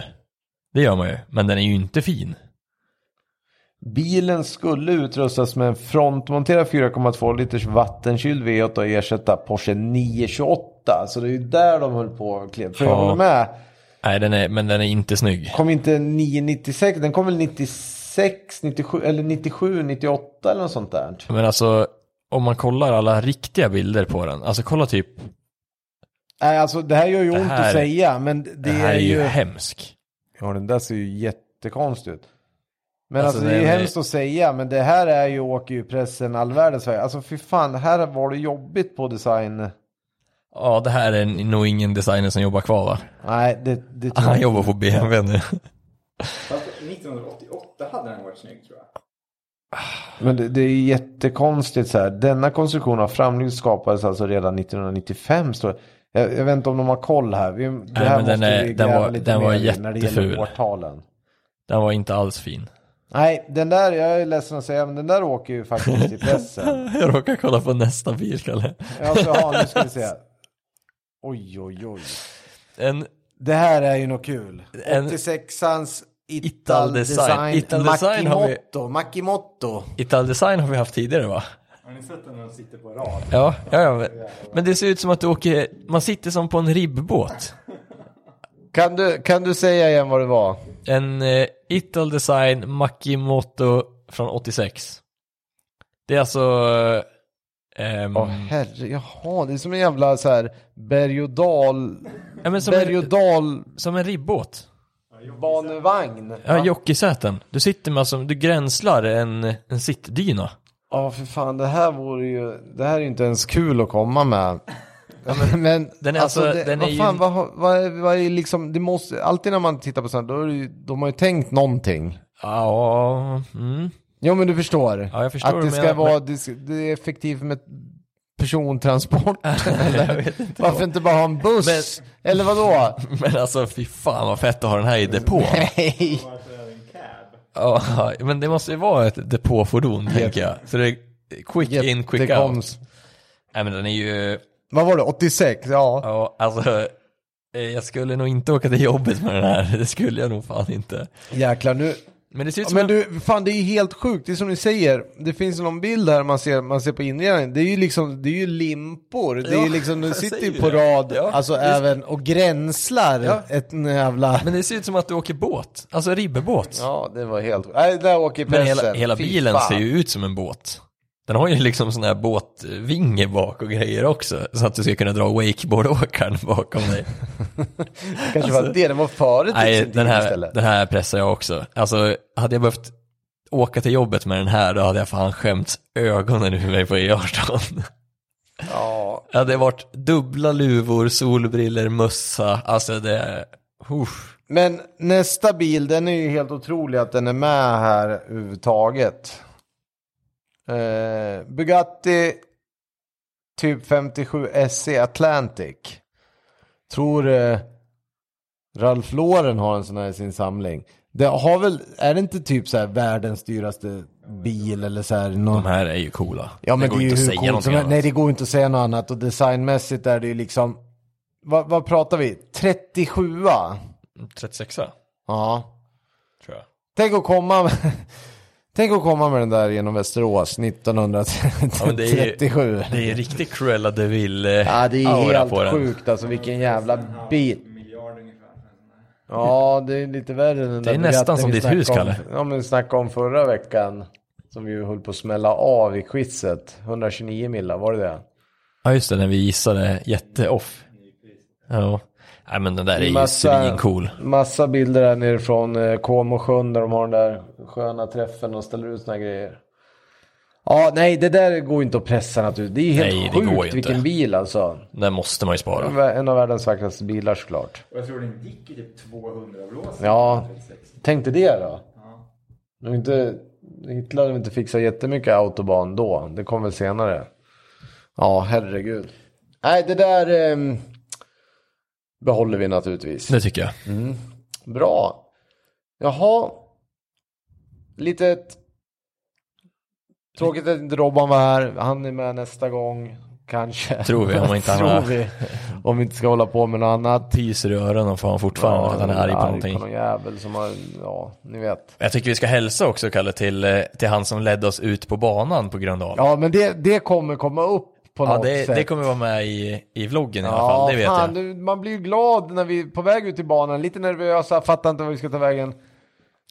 Speaker 2: Det gör man ju. Men den är ju inte fin.
Speaker 7: Bilen skulle utrustas med en frontmonterad 4,2 liters vattenkyld V8 och ersätta Porsche 928. Så det är ju där de höll på och klev. För jag
Speaker 2: Ja.
Speaker 7: håller med.
Speaker 2: Nej, den är, men den är inte snygg.
Speaker 7: Kom inte 996, den kom väl 96, 97 eller 97, 98 eller något sånt där.
Speaker 2: Men alltså, om man kollar alla riktiga bilder på den. Alltså kolla typ,
Speaker 7: Nej, alltså det här gör ju ont
Speaker 2: här-
Speaker 7: att säga, men det,
Speaker 2: det här är ju hemsk.
Speaker 7: Ja, den där ser ju jättekonstig ut. Men
Speaker 2: Alltså,
Speaker 7: alltså, det är ju
Speaker 2: den är-
Speaker 7: hemskt att säga, men det här är ju, åker ju pressen all världens väg. Alltså fy fan, det här var det jobbigt på design.
Speaker 2: Ja, det här är nog ingen designer som jobbar kvar va?
Speaker 7: Nej, det, det tror
Speaker 2: Han
Speaker 7: jag.
Speaker 2: jobbar på BMW nu.
Speaker 5: Fast 1988 hade den varit snygg tror jag.
Speaker 7: Men det, det är jättekonstigt så här. Denna konstruktion av framljus skapades alltså redan 1995. Står det. jag, jag vet inte om de har koll här. Vi, det
Speaker 2: Nej,
Speaker 7: här
Speaker 2: men den
Speaker 7: måste
Speaker 2: är-
Speaker 7: vi
Speaker 2: den
Speaker 7: gräva
Speaker 2: var-
Speaker 7: lite
Speaker 2: den var
Speaker 7: mer i när det
Speaker 2: jätteful.
Speaker 7: gäller årtalen.
Speaker 2: Den var inte alls fin.
Speaker 7: Nej, den där, jag är ledsen att säga, men den där åker ju faktiskt i pressen.
Speaker 2: Jag råkar kolla på nästa bil, Kalle.
Speaker 7: Alltså, ja, nu ska vi se. Oj, oj, oj.
Speaker 2: En
Speaker 7: Det här är ju något kul.
Speaker 2: En-
Speaker 7: 86ans Ital,
Speaker 2: Ital Design.
Speaker 7: Design,
Speaker 2: Ital Design har vi-
Speaker 7: Makimotto. Makimotto.
Speaker 2: Ital Design har vi haft tidigare va?
Speaker 5: Har ni sett den när de sitter på rad?
Speaker 2: Ja, ja, ja. men- Men det ser ut som att du åker, man sitter som på en ribbåt.
Speaker 7: Kan du, kan du säga igen vad det var?
Speaker 2: En eh, Ital Design Makimoto från 86. Det är alltså... Eh, ehm,
Speaker 7: Åh herre, jaha, det är som en jävla så här berg och dal,
Speaker 2: ja, men som,
Speaker 7: berg och
Speaker 2: en,
Speaker 7: dal
Speaker 2: som en ribbåt.
Speaker 7: banvagn.
Speaker 2: Ja, jockeysäten. Du sitter med som, du gränslar en, en sittdyna.
Speaker 7: Ja, för fan, det här vore ju, det här är ju inte ens kul att komma med. Men
Speaker 2: den är alltså- den är
Speaker 7: vad
Speaker 2: ju-
Speaker 7: fan, vad, har- vad, är- vad är liksom, det måste, alltid när man tittar på sånt här, då är det ju, de har ju tänkt någonting.
Speaker 2: Ja, mm.
Speaker 7: Jo men du förstår.
Speaker 2: Ja, jag förstår vad
Speaker 7: att
Speaker 2: du
Speaker 7: det ska
Speaker 2: menar,
Speaker 7: vara det, ska- det är effektivt med persontransport.
Speaker 2: Jag vet inte.
Speaker 7: Varför inte bara ha en buss? Eller vadå?
Speaker 2: Men alltså fy fan vad fett att ha den här i depå.
Speaker 7: Nej.
Speaker 2: Ja, men det måste ju vara ett depåfordon tänker jag. Så det är quick in, quick
Speaker 7: det
Speaker 2: out.
Speaker 7: koms.
Speaker 2: Nej men den är ju,
Speaker 7: Vad var det? 86? Ja.
Speaker 2: ja alltså. eh, Jag skulle nog inte åka till jobbet med den här. Det skulle jag nog fan inte.
Speaker 7: Jäklar nu.
Speaker 2: Men det ser ut som
Speaker 7: Men
Speaker 2: en...
Speaker 7: du, fan det är ju helt sjukt. Det är som ni säger. Det finns någon bild här man ser, man ser på inredningen. Det är ju liksom, det är ju limpor. det är
Speaker 2: Ja,
Speaker 7: ju liksom, de
Speaker 2: jag
Speaker 7: sitter
Speaker 2: säger
Speaker 7: ju på
Speaker 2: det.
Speaker 7: rad.
Speaker 2: Ja,
Speaker 7: Alltså
Speaker 2: just-
Speaker 7: även, och gränslar
Speaker 2: Ja.
Speaker 7: ett jävla...
Speaker 2: Men det ser ut som att du åker båt. Alltså ribbebåt.
Speaker 7: Ja, det var helt... Nej, där åker
Speaker 2: men
Speaker 7: pressen.
Speaker 2: hela, hela
Speaker 7: Fy
Speaker 2: bilen
Speaker 7: fan.
Speaker 2: ser ju ut som en båt. Den har ju liksom sån här båtvinge bak och grejer också. Så att du ska kunna dra wakeboardåkaren bakom dig.
Speaker 7: Kanske var det, den var före
Speaker 2: alltså- Nej,
Speaker 7: tusen
Speaker 2: den
Speaker 7: timmar
Speaker 2: här,
Speaker 7: istället.
Speaker 2: den här pressar jag också. Alltså, hade jag behövt åka till jobbet med den här, då hade jag fan skämt ögonen ur mig på E18.
Speaker 7: Ja,
Speaker 2: Det hade varit dubbla luvor, solbriller, mössa. Alltså det... Uff.
Speaker 7: men nästa bil, den är ju helt otrolig att den är med här överhuvudtaget. Eh, Bugatti typ 57 SE Atlantic. Tror eh, Ralph Lauren har en sån här i sin samling. Det har väl, är det inte typ så här världens dyraste bil eller så här? Någon...
Speaker 2: De här är ju coola.
Speaker 7: Ja, men
Speaker 2: det går
Speaker 7: ju
Speaker 2: inte
Speaker 7: hur
Speaker 2: att säga
Speaker 7: coolt som
Speaker 2: någonting
Speaker 7: helst.
Speaker 2: annat.
Speaker 7: Nej, det går inte att säga något annat. Och designmässigt är det ju liksom, vad, vad pratar vi? 37
Speaker 2: 36
Speaker 7: Ja.
Speaker 2: tror jag.
Speaker 7: Tänk att komma Tänk att komma med den där genom Västerås
Speaker 2: Ja, men det är ju-
Speaker 7: 1937.
Speaker 2: Det är ju riktigt Cruella de Vil eh,
Speaker 7: Ja, det är
Speaker 2: aura
Speaker 7: helt
Speaker 2: på den.
Speaker 7: sjukt alltså vilken jävla bit. Ja, det är lite värre än den
Speaker 2: Det är
Speaker 7: där
Speaker 2: nästan
Speaker 7: biljetten
Speaker 2: som
Speaker 7: vi
Speaker 2: ditt
Speaker 7: snackade
Speaker 2: hus,
Speaker 7: om-
Speaker 2: Kalle.
Speaker 7: Ja, men vi snackade om förra veckan. Som vi höll på att smälla av i quizet. 129 millar, var det det?
Speaker 2: Ja just det, när vi gissade jätteoff. Ja. Nej men den där är ju
Speaker 7: Massa-
Speaker 2: svincool.
Speaker 7: Massa bilder här nere från eh, Comosjön där de har den där sköna träffen och ställer ut såna grejer. Ja, nej, det där går ju inte att pressa naturligtvis. Det är ju helt
Speaker 2: Nej, det går ju
Speaker 7: sjukt
Speaker 2: inte.
Speaker 7: vilken bil alltså.
Speaker 2: Den måste man ju spara.
Speaker 7: En av världens vackraste bilar såklart.
Speaker 5: Och jag tror den gick i typ 200 blås.
Speaker 7: Ja, tänkte det då. Det var inte, Hitler hade inte fixat jättemycket autobahn då. Det kom väl senare. Ja, herregud. Nej, det där ehm, behåller vi naturligtvis.
Speaker 2: Det tycker jag.
Speaker 7: Bra. Jaha. Litet... Tråkigt att inte Robban var här. Han är med nästa gång. Kanske.
Speaker 2: Tror vi, om inte han
Speaker 7: Tror
Speaker 2: har-
Speaker 7: vi. Om vi inte ska hålla på med något annat.
Speaker 2: Pyser i öronen får han fortfarande att han är arg på någonting.
Speaker 7: På någon jävel som har, ja, ni vet.
Speaker 2: Jag tycker vi ska hälsa också Kalle till, eh, till han som ledde oss ut på banan på Gröndal.
Speaker 7: Ja, men det, det kommer komma upp på
Speaker 2: Ja,
Speaker 7: något
Speaker 2: det,
Speaker 7: sätt.
Speaker 2: det kommer vara med i, i vloggen i alla
Speaker 7: ja,
Speaker 2: fall, det vet
Speaker 7: fan,
Speaker 2: jag.
Speaker 7: Du, man blir ju glad när vi är på väg ut i banan, lite nervösa, fattar inte vad vi ska ta vägen.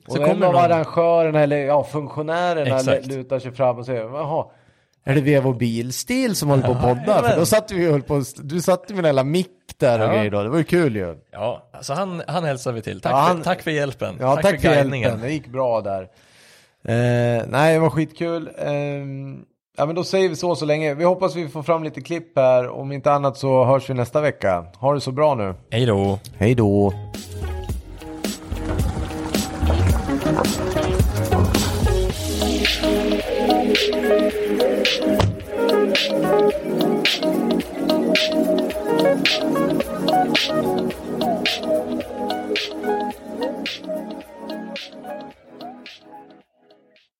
Speaker 7: Och
Speaker 2: Så
Speaker 7: en
Speaker 2: kommer
Speaker 7: av
Speaker 2: någon-
Speaker 7: arrangörerna, eller ja, funktionärerna
Speaker 2: Exakt.
Speaker 7: lutar sig fram och säger jaha, är det Vevo Bilstil som håller på och poddar? För då satt vi ju och höll på, och- du satt ju med en jävla mick där och
Speaker 2: Ja.
Speaker 7: grejer då, det var ju kul ju.
Speaker 2: Ja, så han, han hälsar vi till. Tack,
Speaker 7: Ja, han-
Speaker 2: för, tack för hjälpen.
Speaker 7: Ja, tack, för,
Speaker 2: guidningen.
Speaker 7: hjälpen. Det gick bra där. Eh, nej, det var skitkul. Ehm, ja, men då säger vi så så länge. Vi hoppas vi får fram lite klipp här. Om inte annat så hörs vi nästa vecka. Ha det så bra nu.
Speaker 2: Hej då.
Speaker 7: Hej då.